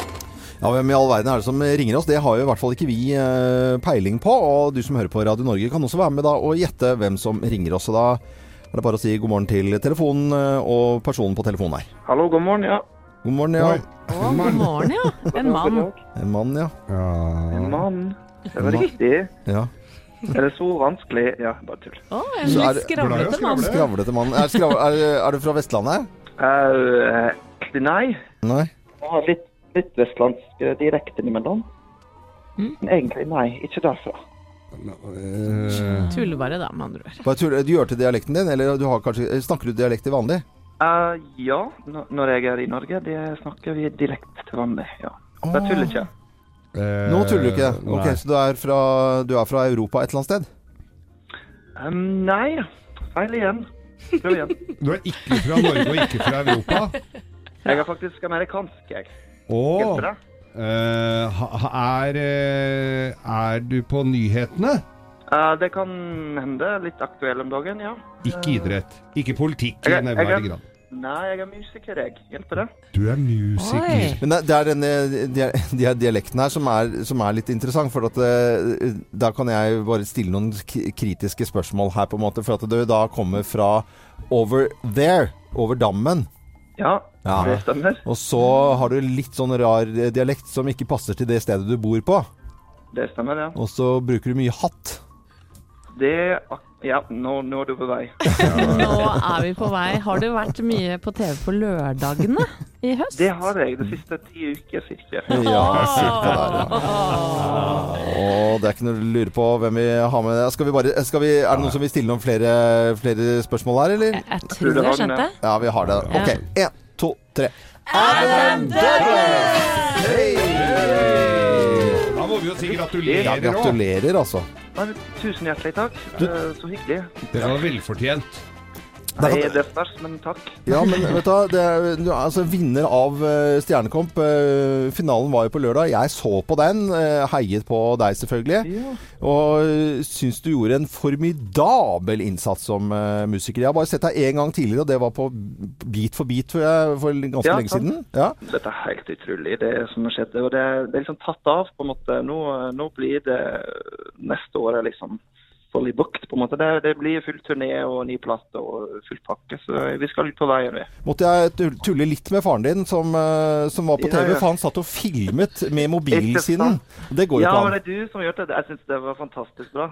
S1: Ja, Hvem i all verden er det som ringer oss? Det har jo i hvert fall ikke vi eh, peiling på. Og du som hører på Radio Norge kan også være med da og gjette hvem som ringer oss. Og da er det bare å si god morgen til telefonen eh, og personen på telefonen her.
S9: Hallo, god morgen. Ja.
S1: God morgen, ja.
S3: Oi.
S2: Å, god morgen, ja. En mann.
S1: En mann, ja.
S3: Ja.
S9: Mann. Det
S1: Mann.
S9: var riktig.
S1: ja.
S9: Er det så vanskelig? Ja, bare tull.
S2: Å, en
S1: Så er
S2: litt
S1: det-
S3: Glad i å
S2: skravlete mann.
S3: skravle.
S1: Skravlete mann. Er, skrav, er, er du fra Vestlandet?
S9: Eh, Egentlig nei.
S1: Nei.
S9: Jeg har litt, litt vestlandsk eh, dialekt innimellom. Men egentlig nei, ikke derfra.
S3: Eh,
S2: Tuller bare, da, med andre ord.
S1: Bare tull- Du gjør til dialekten din, eller du har kanskje, eh, snakker du dialekt til vanlig?
S9: Eh, ja, nå- når jeg er i Norge, det snakker vi dialekt til vanlig. ja. Så
S1: Ah.
S9: jeg tuller ikke.
S3: eh,
S1: Nå tuller du ikke. Ok,
S3: nei.
S1: Så du er fra, du er fra Europa et eller annet sted?
S9: Em, Um, nei, feil igjen. Prøv igjen.
S3: Du er ikke fra Norge og ikke fra Europa?
S9: Jeg er faktisk amerikansk, jeg.
S3: Og
S9: Hjelper det?
S3: er, eh, er du på nyhetene?
S9: Eh, det kan hende. Litt aktuell om dagen, ja.
S3: Ikke idrett. Ikke politikk i
S9: Jeg er- jeg
S3: nevneverdig
S9: er-
S3: grad.
S9: Nei, jeg er musiker, jeg. Hjelper det?
S3: Du er musiker.
S5: Oi.
S1: Men det, det er denne dia- dia- dialekten her som er, som er litt interessant, for at eh, da kan jeg bare stille noen k- kritiske spørsmål her, på en måte. For at du da kommer fra over there, over dammen.
S9: Ja,
S1: Ja.
S9: det stemmer.
S1: Og så har du litt sånn rar eh, dialekt som ikke passer til det stedet du bor på.
S9: Det stemmer, ja.
S1: Og så bruker du mye hatt.
S9: det er ak- Ja, nå, nå er du på vei.
S2: Nå er vi på vei. Har du vært mye på TV på lørdagene i høst?
S9: Det har jeg de siste ti uker, cirka.
S1: Ja, cirka der. Ja. Å, det er ikke noe å lure på hvem vi har med. Skal vi bare, skal vi, er det noen som vil stille noen flere, flere spørsmål her, eller?
S5: Jeg tror jeg skjønte.
S1: Ja, vi har det. Ok, én, to, tre. Adam Douglas! Hei!
S3: Da må vi jo si
S1: Ja,
S3: gratulerer òg.
S1: gratulerer, altså.
S9: Men, tusen hjertelig takk. Eh, Så hyggelig.
S3: Det var velfortjent.
S9: Jeg er dessverre, men takk.
S1: Ja, men vet du, hva, det er, du er altså vinner av eh, Stjernekamp. eh, finalen var jo på lørdag. Jeg så på den. eh, heiet på deg, selvfølgelig.
S9: Ja.
S1: Og eh, syns du gjorde en formidabel innsats som eh, musiker. Jeg har bare sett deg én gang tidligere, og det var på Beat for beat for, jeg, for ganske
S9: Ja,
S1: lenge
S9: sant.
S1: siden. Ja.
S9: Dette er helt utrolig, det som har skjedd. Og det, det er liksom tatt av, på en måte. Nå, nå blir det neste året liksom full i bukt, på en måte. Det, det blir full turné og ny plate og full pakke. Så vi skal ut på veien, vi.
S1: Måtte jeg tull- tulle litt med faren din, som, eh, som var på
S9: Ja,
S1: TV,
S9: ja.
S1: for han satt og filmet med mobilen
S9: Ikke
S1: sin.
S9: sant?
S1: Det går jo
S9: Ja,
S1: ikke an.
S9: men det er du som gjør det. Jeg syns det var fantastisk bra.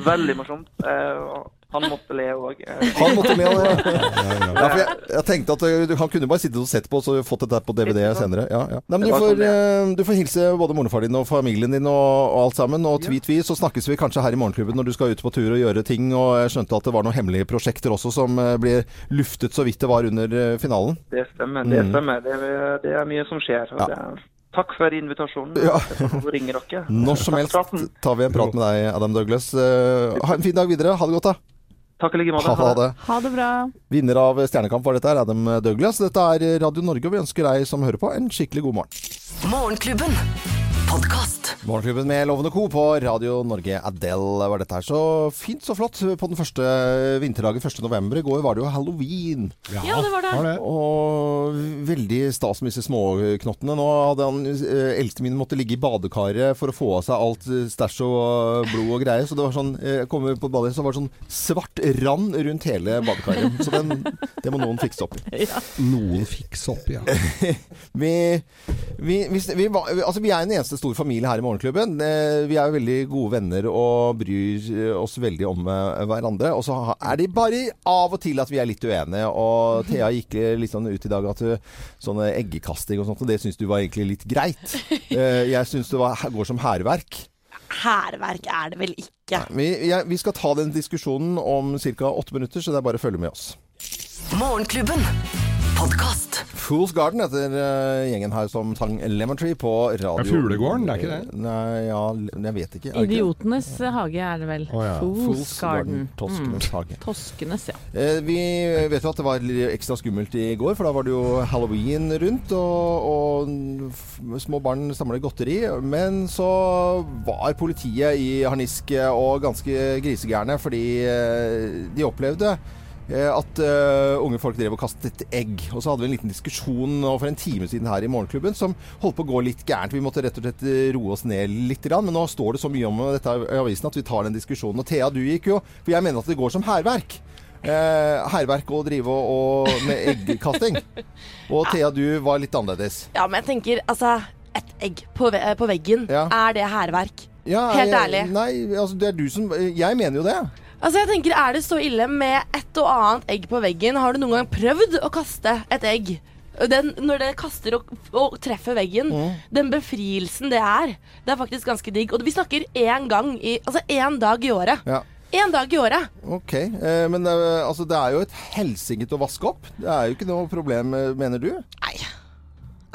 S9: var veldig morsomt. Eh, og Han måtte le Eh, òg.
S1: Han måtte med. og- Ja, for jeg, jeg tenkte at eh, du, han kunne bare sittet og sett på og så fått dette her på DVD
S9: Ikke sant?
S1: senere. Ja, ja. Nei, men
S9: Det
S1: du
S9: var
S1: får,
S9: sånn,
S1: eh, du får hilse både moren og faren din og familien din og, og alt sammen. Og tvi-tvi, så snakkes vi kanskje her i Morgenklubben når du skal ut på tur og gjøre ting. Og jeg skjønte at det var noen hemmelige prosjekter også som eh, ble luftet så vidt det var under eh, finalen.
S9: Det stemmer. Det stemmer. Det, er- det er mye som skjer. og
S1: Mm. Ja.
S9: Det er, takk for invitasjonen.
S1: Ja.
S9: Jeg får ringe dere.
S1: Når som
S9: Takk
S1: helst
S9: for praten.
S1: tar vi en prat med deg, Adam Douglas. Eh, Ha en fin dag videre. Ha det godt, da.
S9: Takk i like
S1: Ha
S9: måte.
S1: det. Ha det.
S2: Ha det bra.
S1: Vinner av Stjernekamp var dette her, Adam Douglas. Dette er Radio Norge, og vi ønsker deg som hører på, en skikkelig god morgen.
S6: Morgenklubben. Podkast.
S1: Morgenklubben med Lovende Co. på Radio Norge. Adele var dette her. Så fint så flott på den første vinterdagen 1. november. I går var det jo halloween.
S4: Ja, det var det.
S1: Og veldig stas med disse småknottene. Nå hadde han eh, eldste min måtte ligge i badekaret for å få av seg alt eh, stæsj og blod og greier. Så det var sånn eh, jeg kom på badet, så var det sånn svart rand rundt hele badekaret. Så den, det må noen fikse opp i.
S3: Noen fikser opp, ja.
S1: Vi, vi, vi, vi, var- altså vi er en eneste stor familie her i Morgenklubben. Eh, Vi er jo veldig gode venner og bryr eh, oss veldig om eh, hverandre. Og så ha- er det bare av og til at vi er litt uenige. Og Thea gikk eh, litt sånn ut i dag at eh, sånne eggekasting og sånt, og det syns du var egentlig litt greit. Eh, Jeg syns det var, går som hærverk.
S4: Hærverk er det vel ikke.
S1: Vi, jeg, vi skal ta den diskusjonen om ca. åtte minutter, så det er bare å følge med oss.
S6: Morgenklubben. Podkast.
S1: Fools Garden heter eh, gjengen her som sang Lemon Tree på radio.
S3: Det er Fuglegården, det er ikke det?
S1: Nei, ja, le- jeg vet ikke. Er det ikke-
S2: Idiotenes hage er det vel.
S3: Å, ja.
S2: Fools
S1: Fools
S2: Garden.
S1: Garden, Toskenes hage.
S2: Toskenes, ja.
S1: Eh, vi vet jo at det var litt ekstra skummelt i går, for da var det jo halloween rundt, og, og f- små barn samler godteri. Men så var politiet i harnisk og ganske grisegærne, fordi eh, de opplevde eh, at eh, unge folk drev og kastet egg. Og så hadde vi en liten diskusjon nå for en time siden her i Morgenklubben som holdt på å gå litt gærent. Vi måtte rett og slett eh, roe oss ned litt, grann, men nå står det så mye om dette i avisen at vi tar den diskusjonen. Og Thea, du gikk jo For jeg mener at det går som hærverk. Eh, Hærverk å drive og, og med eggkasting. Og Thea, du var litt annerledes.
S4: Ja, men jeg tenker, altså Et egg på, ve på veggen,
S1: Ja.
S4: er det hærverk?
S1: Ja,
S4: Helt
S1: jeg-
S4: ærlig.
S1: Nei, altså det er du som Jeg mener jo det.
S4: Altså, jeg tenker, Er det så ille med et og annet egg på veggen? Har du noen gang prøvd å kaste et egg? Den, når det kaster og, og treffer veggen, den befrielsen det er, det er faktisk ganske digg. Og vi snakker én gang i Altså én dag i året.
S1: Ja.
S4: Én dag i året.
S1: Ok, eh, men eh, altså, det er jo et helsinget å vaske opp. Det er jo ikke noe problem, eh, mener du?
S4: Nei.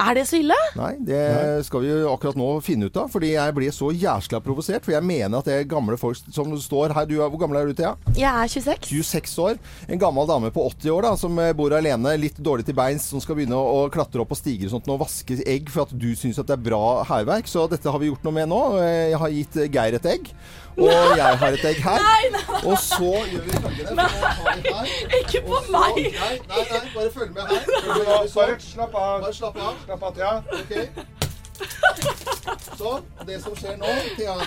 S4: Er det så ille?
S1: Nei, det skal vi jo akkurat nå finne ut av. Fordi jeg blir så jæskla provosert. For jeg mener at det er gamle folk som står her du, er- Hvor gammel er du, Thea?
S4: Jeg er 26.
S1: 26 år. En gammel dame på 80 år da, som eh, bor alene, litt dårlig til beins, som skal begynne å klatre opp på stiger og sånt og vaske egg for at du syns at det er bra hærverk. Så dette har vi gjort noe med nå. Eh, Jeg har gitt eh, Geir et egg. Og jeg har et egg her. Og så gjør vi følgende. Nei,
S4: Ikke på meg!
S1: nei, nei, nei, bare følg med her. Følg med, gjør vi sånn.
S3: slapp av.
S1: Bare slapp av.
S3: Slapp av, ja.
S1: Ok. Så det som skjer nå, Thea,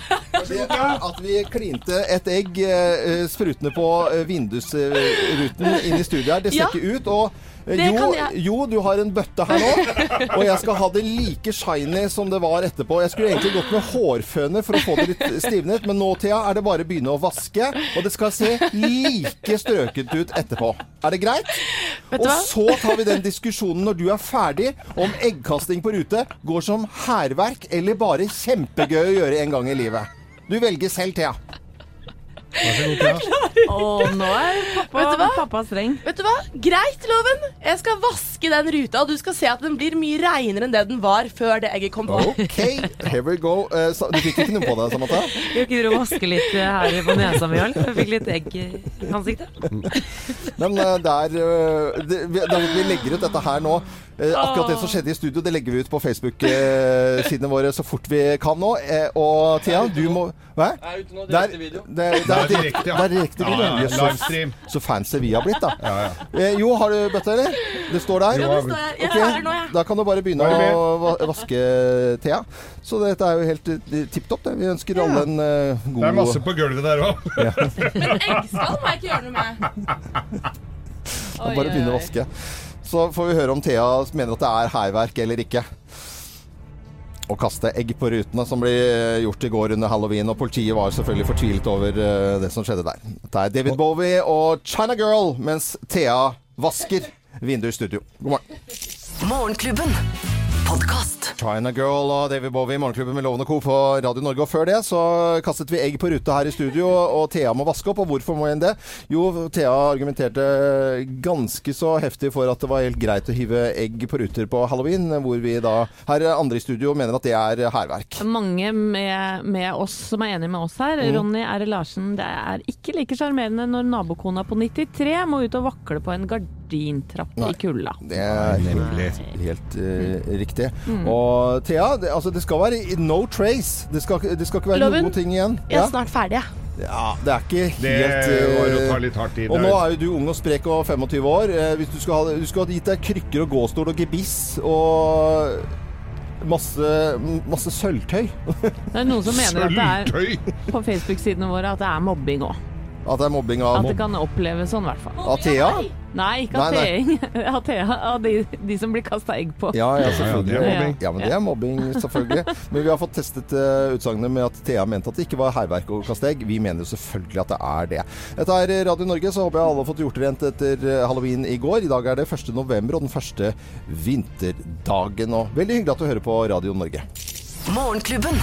S1: det er at vi klinte et egg eh, sprutende på eh, vindusruten inn i studiet her. Det ser
S4: Ja.
S1: ikke ut. og eh,
S4: Det
S1: jo,
S4: kan jeg.
S1: jo, du har en bøtte her nå, og jeg skal ha det like shiny som det var etterpå. Jeg skulle egentlig gått med hårføne for å få det litt stivnet, men nå, Thea, er det bare å begynne å vaske, og det skal se like strøket ut etterpå. Er det greit? Og så tar vi den diskusjonen når du er ferdig, om eggkasting på rute går som hærverk eller bare kjempegøy å gjøre en gang i livet. Du velger selv, Thea.
S2: Og nå er pappa,
S4: Vet du hva?
S2: pappa streng.
S4: Vet du hva? Greit, Loven. Jeg skal vaske den ruta, og du skal se at den blir mye reinere enn det den var før det egget kom på.
S1: OK, here we go. Eh, sa- Du fikk ikke noe på deg, Samantha?
S5: Jeg gidder å vaske litt eh, her på nesa mi, Jarl. Jeg fikk litt egg i ansiktet.
S1: Men eh, der, eh, det, vi, da, vi legger ut dette her nå. Eh, akkurat det som skjedde i studio, det legger vi ut på Facebook-sidene våre så fort vi kan nå. Eh, og Thea, du må Hæ?
S8: Jeg er ute nå,
S1: Der-
S8: direkte video.
S1: Det, det, er direkte,
S3: direkte, ja.
S1: det er direkte video.
S3: Ja, Oh. ja,
S1: Jøss, så-
S3: livestream.
S1: Så fancy vi har blitt, da. Eh, jo, har du bøtte, eller? Det står der.
S3: Jo,
S4: Ja, det står jeg. Jeg
S1: Ok,
S4: er her nå, jeg.
S1: Da kan du bare begynne
S3: Da er det
S1: å va- vaske Thea. Så dette er jo helt eh, tipp topp. det. Vi ønsker alle en eh, god
S3: Det er masse på gulvet der òg.
S4: Men eggskall må jeg ikke gjøre noe med.
S1: Bare
S4: Oi, oi,
S1: begynne å
S4: oi.
S1: vaske. Så får vi høre om Thea mener at det er hærverk eller ikke. Å kaste egg på rutene, som ble eh, gjort i går under halloween. Og politiet var selvfølgelig fortvilet over eh, det som skjedde der. Dette er David Bowie og China Girl mens Thea vasker vinduet i studio. God morgen.
S6: Morgenklubben. Podkast.
S1: China Girl og David Bowie i Morgenklubben med Lovende Co. på Radio Norge. Og før det så kastet vi egg på ruta her i studio, og Thea må vaske opp. Og hvorfor må hun det? Jo, Thea argumenterte ganske så heftig for at det var helt greit å hive egg på ruter på halloween, hvor vi da her andre i studio mener at det er hærverk.
S2: Mange med, med oss som er enige med oss her.
S1: Mm.
S2: Ronny R. Larsen, det er ikke like sjarmerende når nabokona på 93 må ut og vakle på en gardintrapp i kulda.
S1: Det er helt eh, riktig. Og Thea, det, altså, det skal være i- no trace. Det skal, ikke- det skal ikke være
S4: Loven,
S1: noen ting igjen.
S4: Jeg
S1: Ja?
S4: er snart ferdig, jeg.
S1: ja, det er ikke helt
S3: Det var å
S1: eh,
S3: ta litt hardt i.
S1: Og nå
S3: det.
S1: er jo du ung og sprek og 25 år. Eh, Hvis du skulle ha, du skulle ha gitt deg krykker og gåstol og gebiss og masse, masse sølvtøy.
S2: Det er noen som mener at det er
S3: Sølvtøy!
S2: på Facebook-sidene våre at det er mobbing òg.
S1: At det er mobbing av,
S2: At det kan oppleves sånn, i hvert fall.
S1: av Thea.
S2: Nei, ikke
S1: Nei, nei.
S2: ateing. Atea av de, de som blir kasta egg på.
S1: Ja, ja, selvfølgelig.
S3: Ja,
S2: det er mobbing.
S1: Ja, men det er mobbing, selvfølgelig. Men vi har fått testet eh, utsagnet med at Thea mente at det ikke var hærverk å kaste egg. Vi mener jo selvfølgelig at det er det. Dette er Radio Norge, så håper jeg alle har fått gjort rent etter eh, halloween i går. I dag er det 1. november og den første vinterdagen. Og veldig hyggelig at du hører på Radio Norge.
S6: Morgenklubben.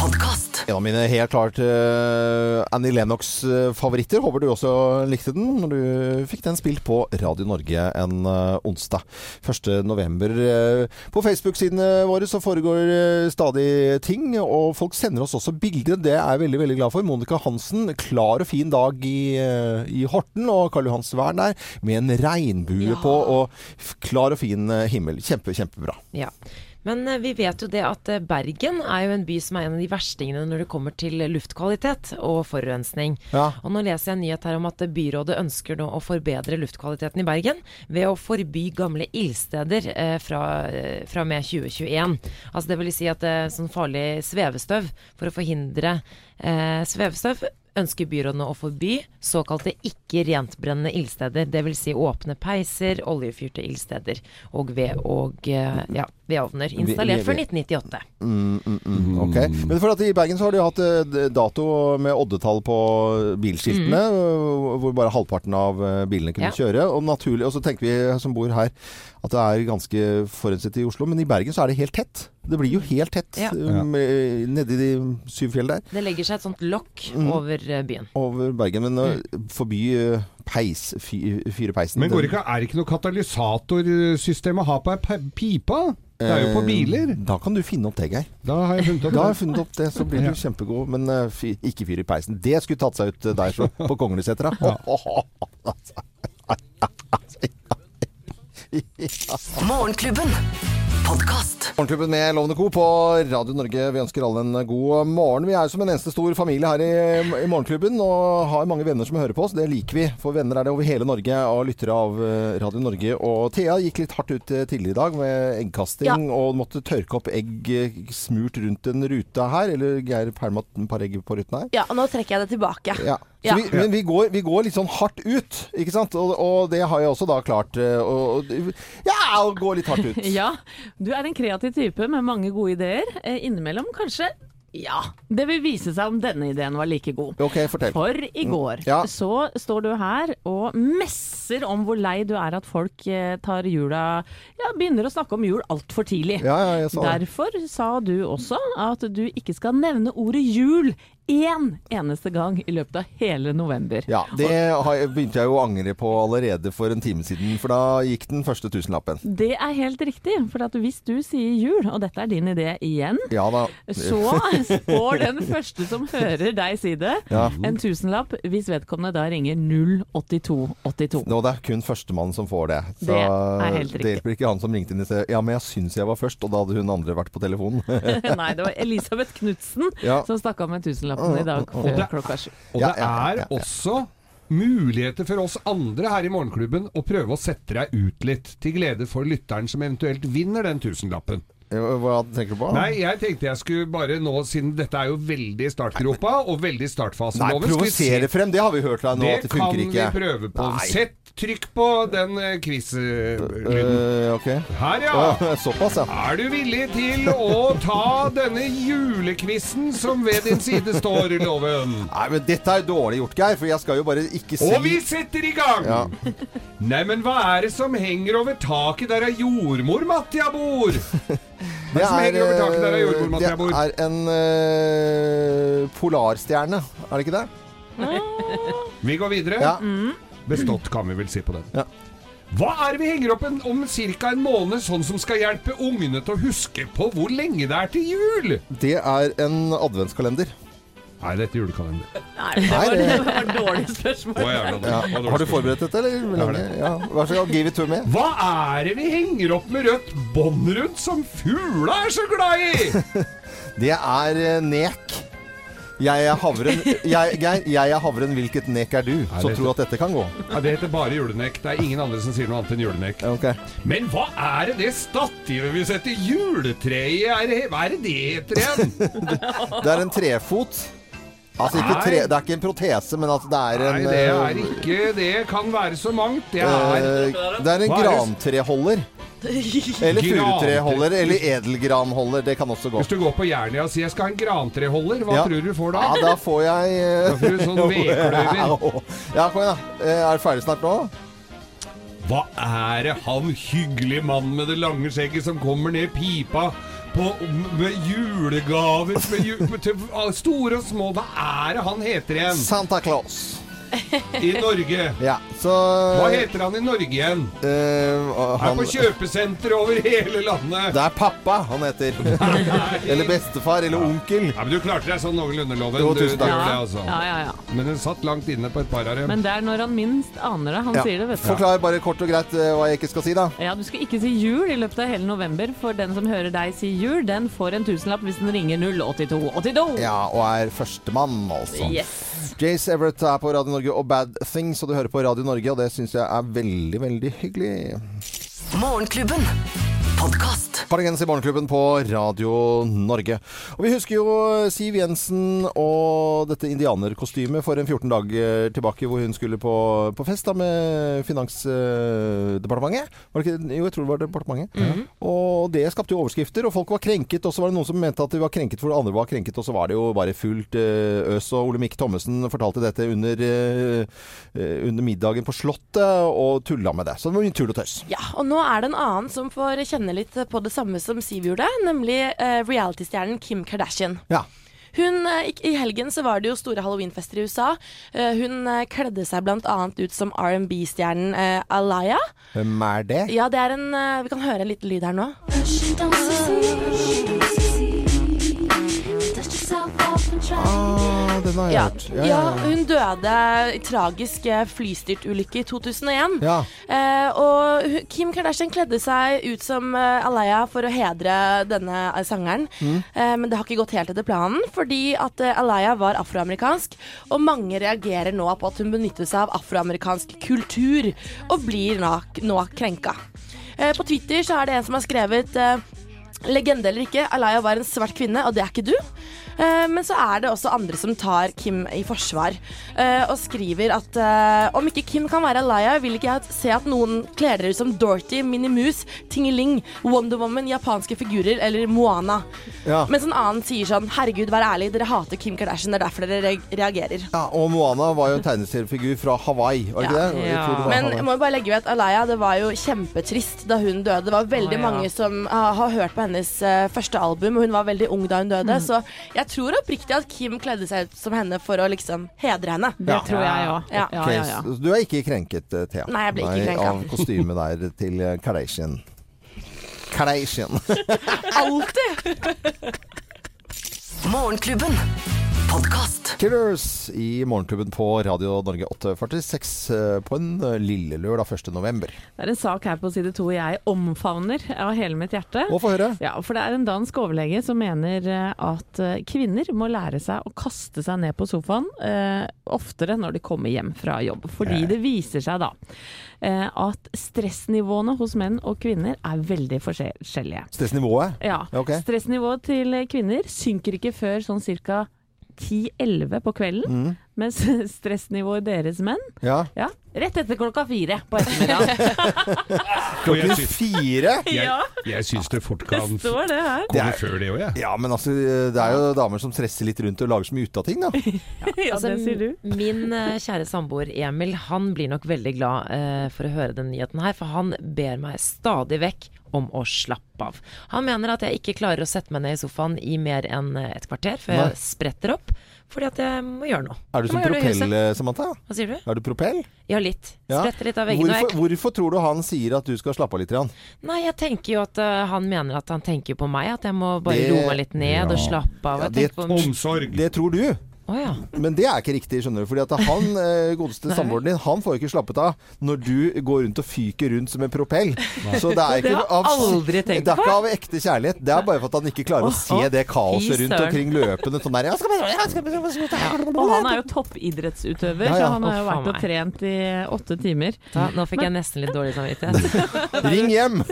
S6: Podkast.
S1: En av mine helt klart eh, Annie Lennox-favoritter. Håper du også likte den når du fikk den spilt på Radio Norge en eh, onsdag 1. november. Eh, på Facebook-sidene våre så foregår eh, stadig ting, og folk sender oss også bilder. Det er jeg veldig veldig glad for. Monica Hansen, klar og fin dag i, eh, i Horten og Karl Johans vern der, med en regnbue på og f- klar og fin eh, himmel. Kjempe, kjempebra.
S5: Ja. Men eh, vi vet jo det at eh, Bergen er jo en by som er en av de verstingene når det kommer til luftkvalitet og forurensning.
S1: Ja.
S5: Og nå leser jeg en nyhet her om at eh, byrådet ønsker nå å forbedre luftkvaliteten i Bergen ved å forby gamle ildsteder eh, fra, eh, fra og med 2021. Altså det vil si at eh, sånn farlig svevestøv, for å forhindre eh, svevestøv, ønsker byrådene å forby såkalte ikke rentbrennende ildsteder. Dvs. Si åpne peiser, oljefyrte ildsteder og ved og eh, ja, vedovner. Installert før 1998.
S1: Mm, Ok, Men for at I Bergen så har de jo hatt eh, dato med oddetall på bilskiltene, eh, hvor bare halvparten av eh, bilene kunne
S5: Mm. Ja.
S1: kjøre. Og naturlig, og så tenker vi eh, som bor her at det er ganske forurenset i Oslo, men i Bergen så er det helt tett. Det blir jo helt tett
S5: Ja.
S1: um, eh, nedi de syv fjell der
S5: Det legger seg et sånt lokk over eh, byen.
S1: over Bergen. Men eh,
S5: Mm.
S1: forby eh, peis, fy- fyrepeisen.
S3: Men
S1: Den-
S3: går ikke, er det ikke noe katalysatorsystem å ha på ei pe- pipa? Det er jo på biler.
S1: eh, Da kan du finne opp det, Geir.
S3: Eh, Da har jeg funnet opp
S1: Da har
S3: det.
S1: jeg funnet opp det, så blir du kjempegod. Men eh, fy, ikke fyr i peisen. Det skulle tatt seg ut eh, der så, på Konglesetra.
S6: Morgenklubben. Podkast.
S1: Morgenklubben med Lovende Co. på Radio Norge. Vi ønsker alle en god morgen. Vi er jo som en eneste stor familie her i, i Morgenklubben og har mange venner som hører på oss. Det liker vi, for venner er det over hele Norge og lyttere av eh, Radio Norge. Og Thea gikk litt hardt ut eh, tidligere i dag med eggkasting
S4: Ja.
S1: og måtte tørke opp egg eh, smurt rundt en rute her. Eller Geir pælma et par egg på ruten her.
S4: Ja, nå trekker jeg det tilbake.
S1: Ja. Så
S4: Ja.
S1: vi, men vi går, vi går litt sånn hardt ut, ikke sant? Og, og det har jeg også da klart. eh, Og, og, ja, å gå litt hardt ut.
S2: Ja, du er en kreativ type med mange gode ideer. Eh, Innimellom kanskje Ja, det vil vise seg om denne ideen var like god.
S1: Ok, fortell.
S2: For i går
S1: Ja.
S2: så står du her og messer om hvor lei du er at folk eh, tar jula Ja, begynner å snakke om jul altfor tidlig.
S1: Ja, ja, jeg sa det.
S2: Derfor sa du også at du ikke skal nevne ordet jul én eneste gang i løpet av hele november.
S1: Ja, det har jeg, begynte jeg jo å angre på allerede for en time siden, for da gikk den første tusenlappen.
S2: Det er helt riktig, for at hvis du sier jul, og dette er din idé igjen,
S1: Ja da.
S2: Så får den første som hører deg si det, en tusenlapp hvis vedkommende da ringer 08282.
S1: Nå, det er kun førstemann som får det. Så
S2: Det er helt
S1: det hjelper ikke han som ringte inn i sted. Ja, men jeg syns jeg var først, og da hadde hun andre vært på telefonen.
S2: Nei, det var Elisabeth Knutsen
S1: Ja.
S2: som stakk av med tusenlappen i dag før klokka sju.
S3: Og
S1: Ja,
S3: det
S1: ja, ja,
S3: er
S1: ja.
S3: også muligheter for oss andre her i Morgenklubben å prøve å sette deg ut litt, til glede for lytteren som eventuelt vinner den tusenlappen.
S1: Hva tenker du på?
S3: Nei, jeg tenkte jeg skulle bare nå, siden dette er jo veldig startgropa og veldig
S1: Nei,
S3: startfaseloven skal vi se-
S1: provosere frem. Det har vi hørt fra nå, at
S3: Det
S1: det funker ikke.
S3: kan vi prøve på.
S1: Nei.
S3: Sett trykk på den eh, quiz-lyden.
S1: Eh, ok.
S3: Her, ja.
S1: Å, Såpass, ja.
S3: Er du villig til å ta denne julekvissen som ved din side står, Loven?
S1: Nei, men dette er dårlig gjort, Geir, for jeg skal jo bare ikke si
S3: Og vi setter i gang!
S1: Ja.
S3: Neimen, hva er det som henger over taket der ei jordmor Mattia bor?
S1: Det
S3: som henger over taket der er
S1: eh,
S3: jordbord, Mattia Bord.
S1: Det er en eh, polarstjerne, er det ikke det?
S3: Vi går videre.
S1: Ja.
S3: Bestått kan vi vel si på den.
S1: Ja.
S3: Hva er det vi henger opp en, om ca. en måned, sånn som skal hjelpe ungene til å huske på hvor lenge det er til jul?
S1: Det er en adventskalender.
S3: Nei, dette er julekalender.
S2: Nei, det
S1: Nei,
S2: var,
S1: det-
S2: det var et dårlig spørsmål.
S3: Å, jævla, det
S1: Ja.
S3: var dårlig
S1: Har du
S3: spørsmål.
S1: forberedt dette, eller?
S3: har det.
S1: Ja. Vær så god, give it to me.
S3: Hva er det vi henger opp med rødt bånd rundt som fugla er så glad i?
S1: Det er eh, nek. Jeg er havren, jeg, Geir, jeg er havren, hvilket nek er du? Så
S3: det-
S1: tro at dette kan gå.
S3: Ja, det heter bare julenek. Det er ingen andre som sier noe annet enn julenek.
S1: Ok.
S3: Men hva er det det stativet vi setter juletreet i? Er det- Hva er det det heter igjen?
S1: Det er en trefot. Altså ikke
S3: Nei.
S1: tre, det er ikke en protese, men at det er en
S3: Nei, det er
S1: eh,
S3: ikke Det kan være så mangt. Det er
S1: eh, det er en
S3: Hva er det?
S1: grantreholder. Eller furutreholder. Eller edelgranholder. Det kan også gå.
S3: Hvis du går på Jernia og sier 'jeg skal ha en grantreholder', hva
S1: Ja.
S3: tror du du får
S1: Ja,
S3: da?
S1: da får jeg eh,
S3: Da får du sånn vedkløyver.
S1: Ja, kom igjen, da. Eh, Er du ferdig snart nå?
S3: Hva er det han hyggelige mannen med det lange skjegget som kommer ned pipa på, med julegaver med ju, til ah, store og små? Hva er det han heter igjen
S1: Santa Claus.
S3: i Norge?
S1: Ja, så
S3: Hva heter han i Norge igjen?
S1: eh,
S3: Er
S1: han,
S3: på kjøpesenter over hele landet.
S1: Det er pappa han heter. eller bestefar, eller onkel.
S3: Ja, men Du klarte deg sånn noenlunde, Loven.
S1: Jo,
S3: Du,
S1: tusen
S3: du
S1: takk.
S2: Ja,
S3: gjorde det, altså.
S2: ja, ja, ja.
S3: Men den satt langt inne på et par av dem.
S2: Men det er når han minst aner det. Han
S1: Ja.
S2: sier det, vet du.
S1: Forklar bare kort og greit eh, hva jeg ikke skal si, da.
S2: Ja, Du skal ikke si jul i løpet av hele november, for den som hører deg si jul, den får en tusenlapp hvis den ringer 08282.
S1: Ja, og er førstemann, altså.
S2: Yes.
S1: Jace Everett er på Radio Norge og Bad Things, og du hører på Radio Norge, og det syns jeg er veldig, veldig hyggelig.
S6: Morgenklubben. Podkast.
S1: Karlingens i Morgenklubben på Radio Norge. Og vi husker jo eh, Siv Jensen og dette indianerkostymet for en 14 dager tilbake, hvor hun skulle på, på fest da med Finansdepartementet. Var det ikke, jo, jeg tror det var departementet. Og det skapte jo overskrifter, og folk var krenket. Og så var det noen som mente at de var krenket for andre var krenket, og så var det jo bare fullt eh, øs. Og Olemic Thommessen fortalte dette under, eh, eh, under middagen på Slottet, og tulla med det. Så det var mye tull og tøys.
S4: Ja, og nå er det en annen som får kjenne litt på det samme som Siv gjorde, nemlig eh, reality-stjernen Kim Kardashian.
S1: Ja.
S4: Hun, eh, ikk- I helgen så var det jo store halloweenfester i USA. Eh, hun eh, kledde seg bl.a. ut som R&B-stjernen eh, Alaya.
S1: Hvem er det?
S4: Ja, det er en eh, Vi kan høre en liten lyd her nå.
S1: Ah, den har jeg
S4: Ja,
S1: hørt.
S4: ja, hun døde i tragisk eh, flystyrtulykke i 2001.
S1: ja.
S4: Eh, og hu- Kim Kardashian kledde seg ut som eh, Alaya for å hedre denne eh, sangeren. Eh, men det har ikke gått helt etter planen, fordi at eh, Alaya var afroamerikansk. Og mange reagerer nå på at hun benytter seg av afroamerikansk kultur, og blir nå, nå krenka. Eh, på Twitter så er det en som har skrevet eh, Legende eller ikke, Alaya var en svart kvinne, og det er ikke du. Eh, Men så er det også andre som tar Kim i forsvar eh, og skriver at eh, om ikke Kim kan være Alaya, vil ikke jeg se at noen kler dere ut som Dorothy, Minnie Mouse, Tingeling, Wonder Woman, japanske figurer eller Moana.
S1: Ja.
S4: Mens en annen sier sånn Herregud, vær ærlig, dere hater Kim Kardashian, det er derfor dere re- reagerer.
S1: ja. Og Moana var jo en tegneseriefigur fra Hawaii, var det ikke
S4: Ja.
S1: det? Jeg
S5: Ja.
S1: tror det var
S4: Men
S1: Hawaii.
S4: jeg må jo bare legge ved at Alaya, det var jo kjempetrist da hun døde. Det var
S5: Å,
S4: veldig
S5: ja.
S4: mange som har, har hørt på hennes eh, første album, og hun var veldig ung da hun døde. Så jeg tror oppriktig at Kim kledde seg ut som henne for å liksom hedre henne.
S2: Det tror jeg òg.
S4: Ja.
S2: Ja,
S1: Ok,
S2: ja, ja.
S1: så Du er ikke krenket, eh, Thea?
S4: Nei, jeg ble ikke krenket.
S1: Av kostymet der til eh, Kardashian. Kardashian.
S4: Alltid!
S6: Morgenklubben. Podkast.
S1: Killers i Morgenklubben på Radio Norge 846 eh, på en eh, lille lørdag 1. november.
S2: Det er en sak her på side to jeg omfavner av hele mitt hjerte.
S1: Og få høre.
S2: Ja, for det er en dansk overlege som mener eh, at eh, kvinner må lære seg å kaste seg ned på sofaen eh, oftere når de kommer hjem fra jobb. Fordi det viser seg da eh, at stressnivåene hos menn og kvinner er veldig forskjellige.
S1: Stressnivået.
S2: Ja.
S1: Ok.
S2: Stressnivået til kvinner synker ikke før sånn ca. 10-11 på kvelden, mens stressnivået deres menn
S1: Ja.
S2: ja, rett etter klokka fire på ettermiddagen.
S1: Klokken
S3: jeg syns-
S1: fire.
S2: Ja.
S3: Jeg, jeg syns det fort
S2: Det
S3: kan f-
S2: står det her.
S3: komme før det òg, jeg.
S1: Ja, men altså, det er jo damer som stresser litt rundt og lager så mye ut av ting, da.
S2: Ja,
S5: Altså,
S2: det sier du.
S5: Min eh, kjære samboer Emil, han blir nok veldig glad eh, for å høre den nyheten her, for han ber meg stadig vekk om å slappe av. Han mener at jeg ikke klarer å sette meg ned i sofaen i mer enn eh, et kvarter før
S1: Nei.
S5: jeg spretter opp, fordi at jeg må gjøre noe.
S1: Er du
S5: Jeg
S1: som
S5: må gjøre noe i
S1: propell,
S5: huset.
S1: eh, Samantha?
S5: Hva sier du?
S1: Er du propell?
S5: Ja, litt.
S1: Ja.
S5: Spretter litt av veggene. og jeg
S1: Hvorfor, hvorfor tror du han sier at du skal slappe av litt? Jan?
S5: Nei, jeg tenker jo at øh, han mener at han tenker på meg, at jeg må bare
S1: Det-
S5: roe meg litt ned og
S1: Ja.
S5: slappe av.
S1: Ja,
S5: Jeg
S1: det-
S5: tenker på min...
S3: Omsorg.
S1: Det tror du,
S5: Å ja.
S1: men det er ikke riktig, skjønner du. Fordi at han eh, godeste samboeren din, han får ikke slappet av når du går rundt og fyker rundt som en propell. Så det er
S5: Det
S1: ikke
S5: har jeg
S1: av,
S5: aldri
S1: det
S5: tenkt
S1: er ikke av ekte kjærlighet. Det er bare for at han ikke klarer å se det
S5: fy
S1: kaoset rundt
S5: søren.
S1: omkring løpende sånn der. Jeg skal bare, jeg skal bare, jeg skal bare.
S2: Og han er jo toppidrettsutøver,
S1: Ja, ja.
S2: så han har jo
S5: Å, faen
S2: vært og
S5: meg.
S2: trent i åtte timer.
S5: Da, nå fikk jeg nesten litt dårlig samvittighet.
S1: Ring hjem!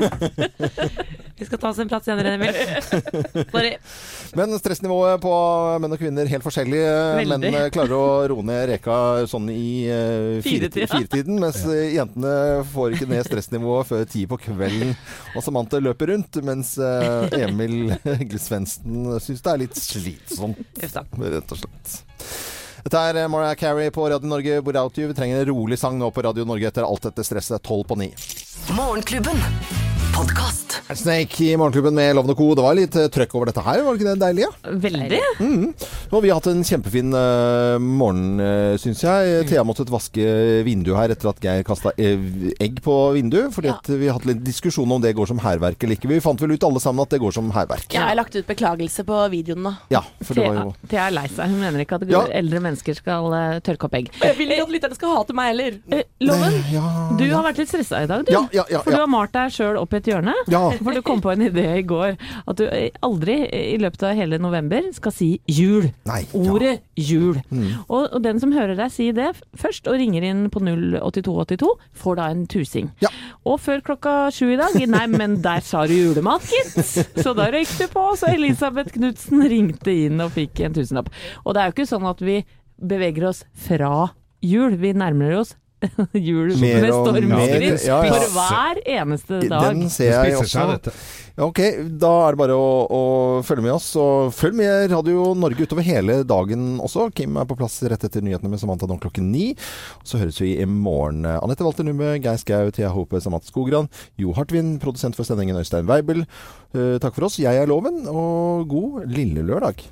S5: Vi skal ta oss en prat senere, Emil. Sorry.
S1: Men stressnivået på menn og kvinner helt forskjellig.
S2: Veldig.
S1: Menn eh, klarer å roe ned reka sånn i eh, fire-
S2: Firetida.
S1: firetiden, mens eh, jentene får ikke ned stressnivået før ti på kvelden. Og Samantha løper rundt, mens eh, Emil Svendsen syns det er litt slitsomt,
S5: Uff da.
S1: rett og slett. Dette er eh, Mariah Carey på Radio Norge, Bor Out You. Vi trenger en rolig sang nå på Radio Norge etter alt dette stresset. Tolv på ni.
S6: Morgenklubben. Podkast.
S1: Snake i Morgenklubben med Lovende Co. Det var litt eh, trøkk over dette her, var det ikke det deilig? Ja?
S2: Veldig.
S1: Og vi har hatt en kjempefin eh, morgen, uh, syns jeg.
S2: Mm.
S1: Thea måtte vaske vinduet her etter at Geir kasta egg på vinduet. Fordi
S4: Ja.
S1: at vi har hatt litt diskusjon om det går som hærverk eller ikke. Vi fant vel ut alle sammen at det går som hærverk.
S4: Ja, jeg har lagt ut beklagelse på videoen nå.
S1: Ja, for det var
S2: Thea
S1: jo
S2: Thea er lei seg. Hun mener ikke at
S1: Ja.
S2: eldre mennesker skal eh, tørke opp egg.
S4: Jeg vil ikke at lytterne skal hate meg heller.
S2: Eh, Loven,
S1: Ja,
S2: du har vært litt stressa i dag, du.
S1: ja, ja. ja,
S2: For du
S1: ja.
S2: har malt deg sjøl opp i et hjørne.
S1: Ja.
S2: For du kom på en idé i går. At du eh, aldri eh, i løpet av hele november skal si jul.
S1: Nei, ja. Mm.
S2: Ordet jul. Og, og den som hører deg si det f- først, og ringer inn på 08282, får da en tusing.
S1: Ja.
S2: Og før klokka sju i dag Nei, men der sa du julemat, gitt! Så da røyk du på. Så Elisabeth Knutsen ringte inn og fikk en tusenlapp. Og det er jo ikke sånn at vi beveger oss fra jul. Vi nærmer oss jul
S1: Mer
S2: med
S1: og
S3: mer,
S2: stormskritt
S1: ja, ja.
S2: for hver eneste dag.
S1: Den ser jeg
S3: spiser seg,
S1: også.
S3: dette.
S1: Ja, Ok, da er det bare å, å følge med oss. Og følg med Radio Norge utover hele dagen også. Kim er på plass rett etter nyhetene med Samantha nå klokken ni. Så høres vi i morgen. Anette Walter Numme, Geir Skau, Thea Hope, Samantha Skogran, Jo Hartvin, produsent for sendingen Øystein Weibel. Eh, takk for oss. Jeg er Loven, og god lille lørdag.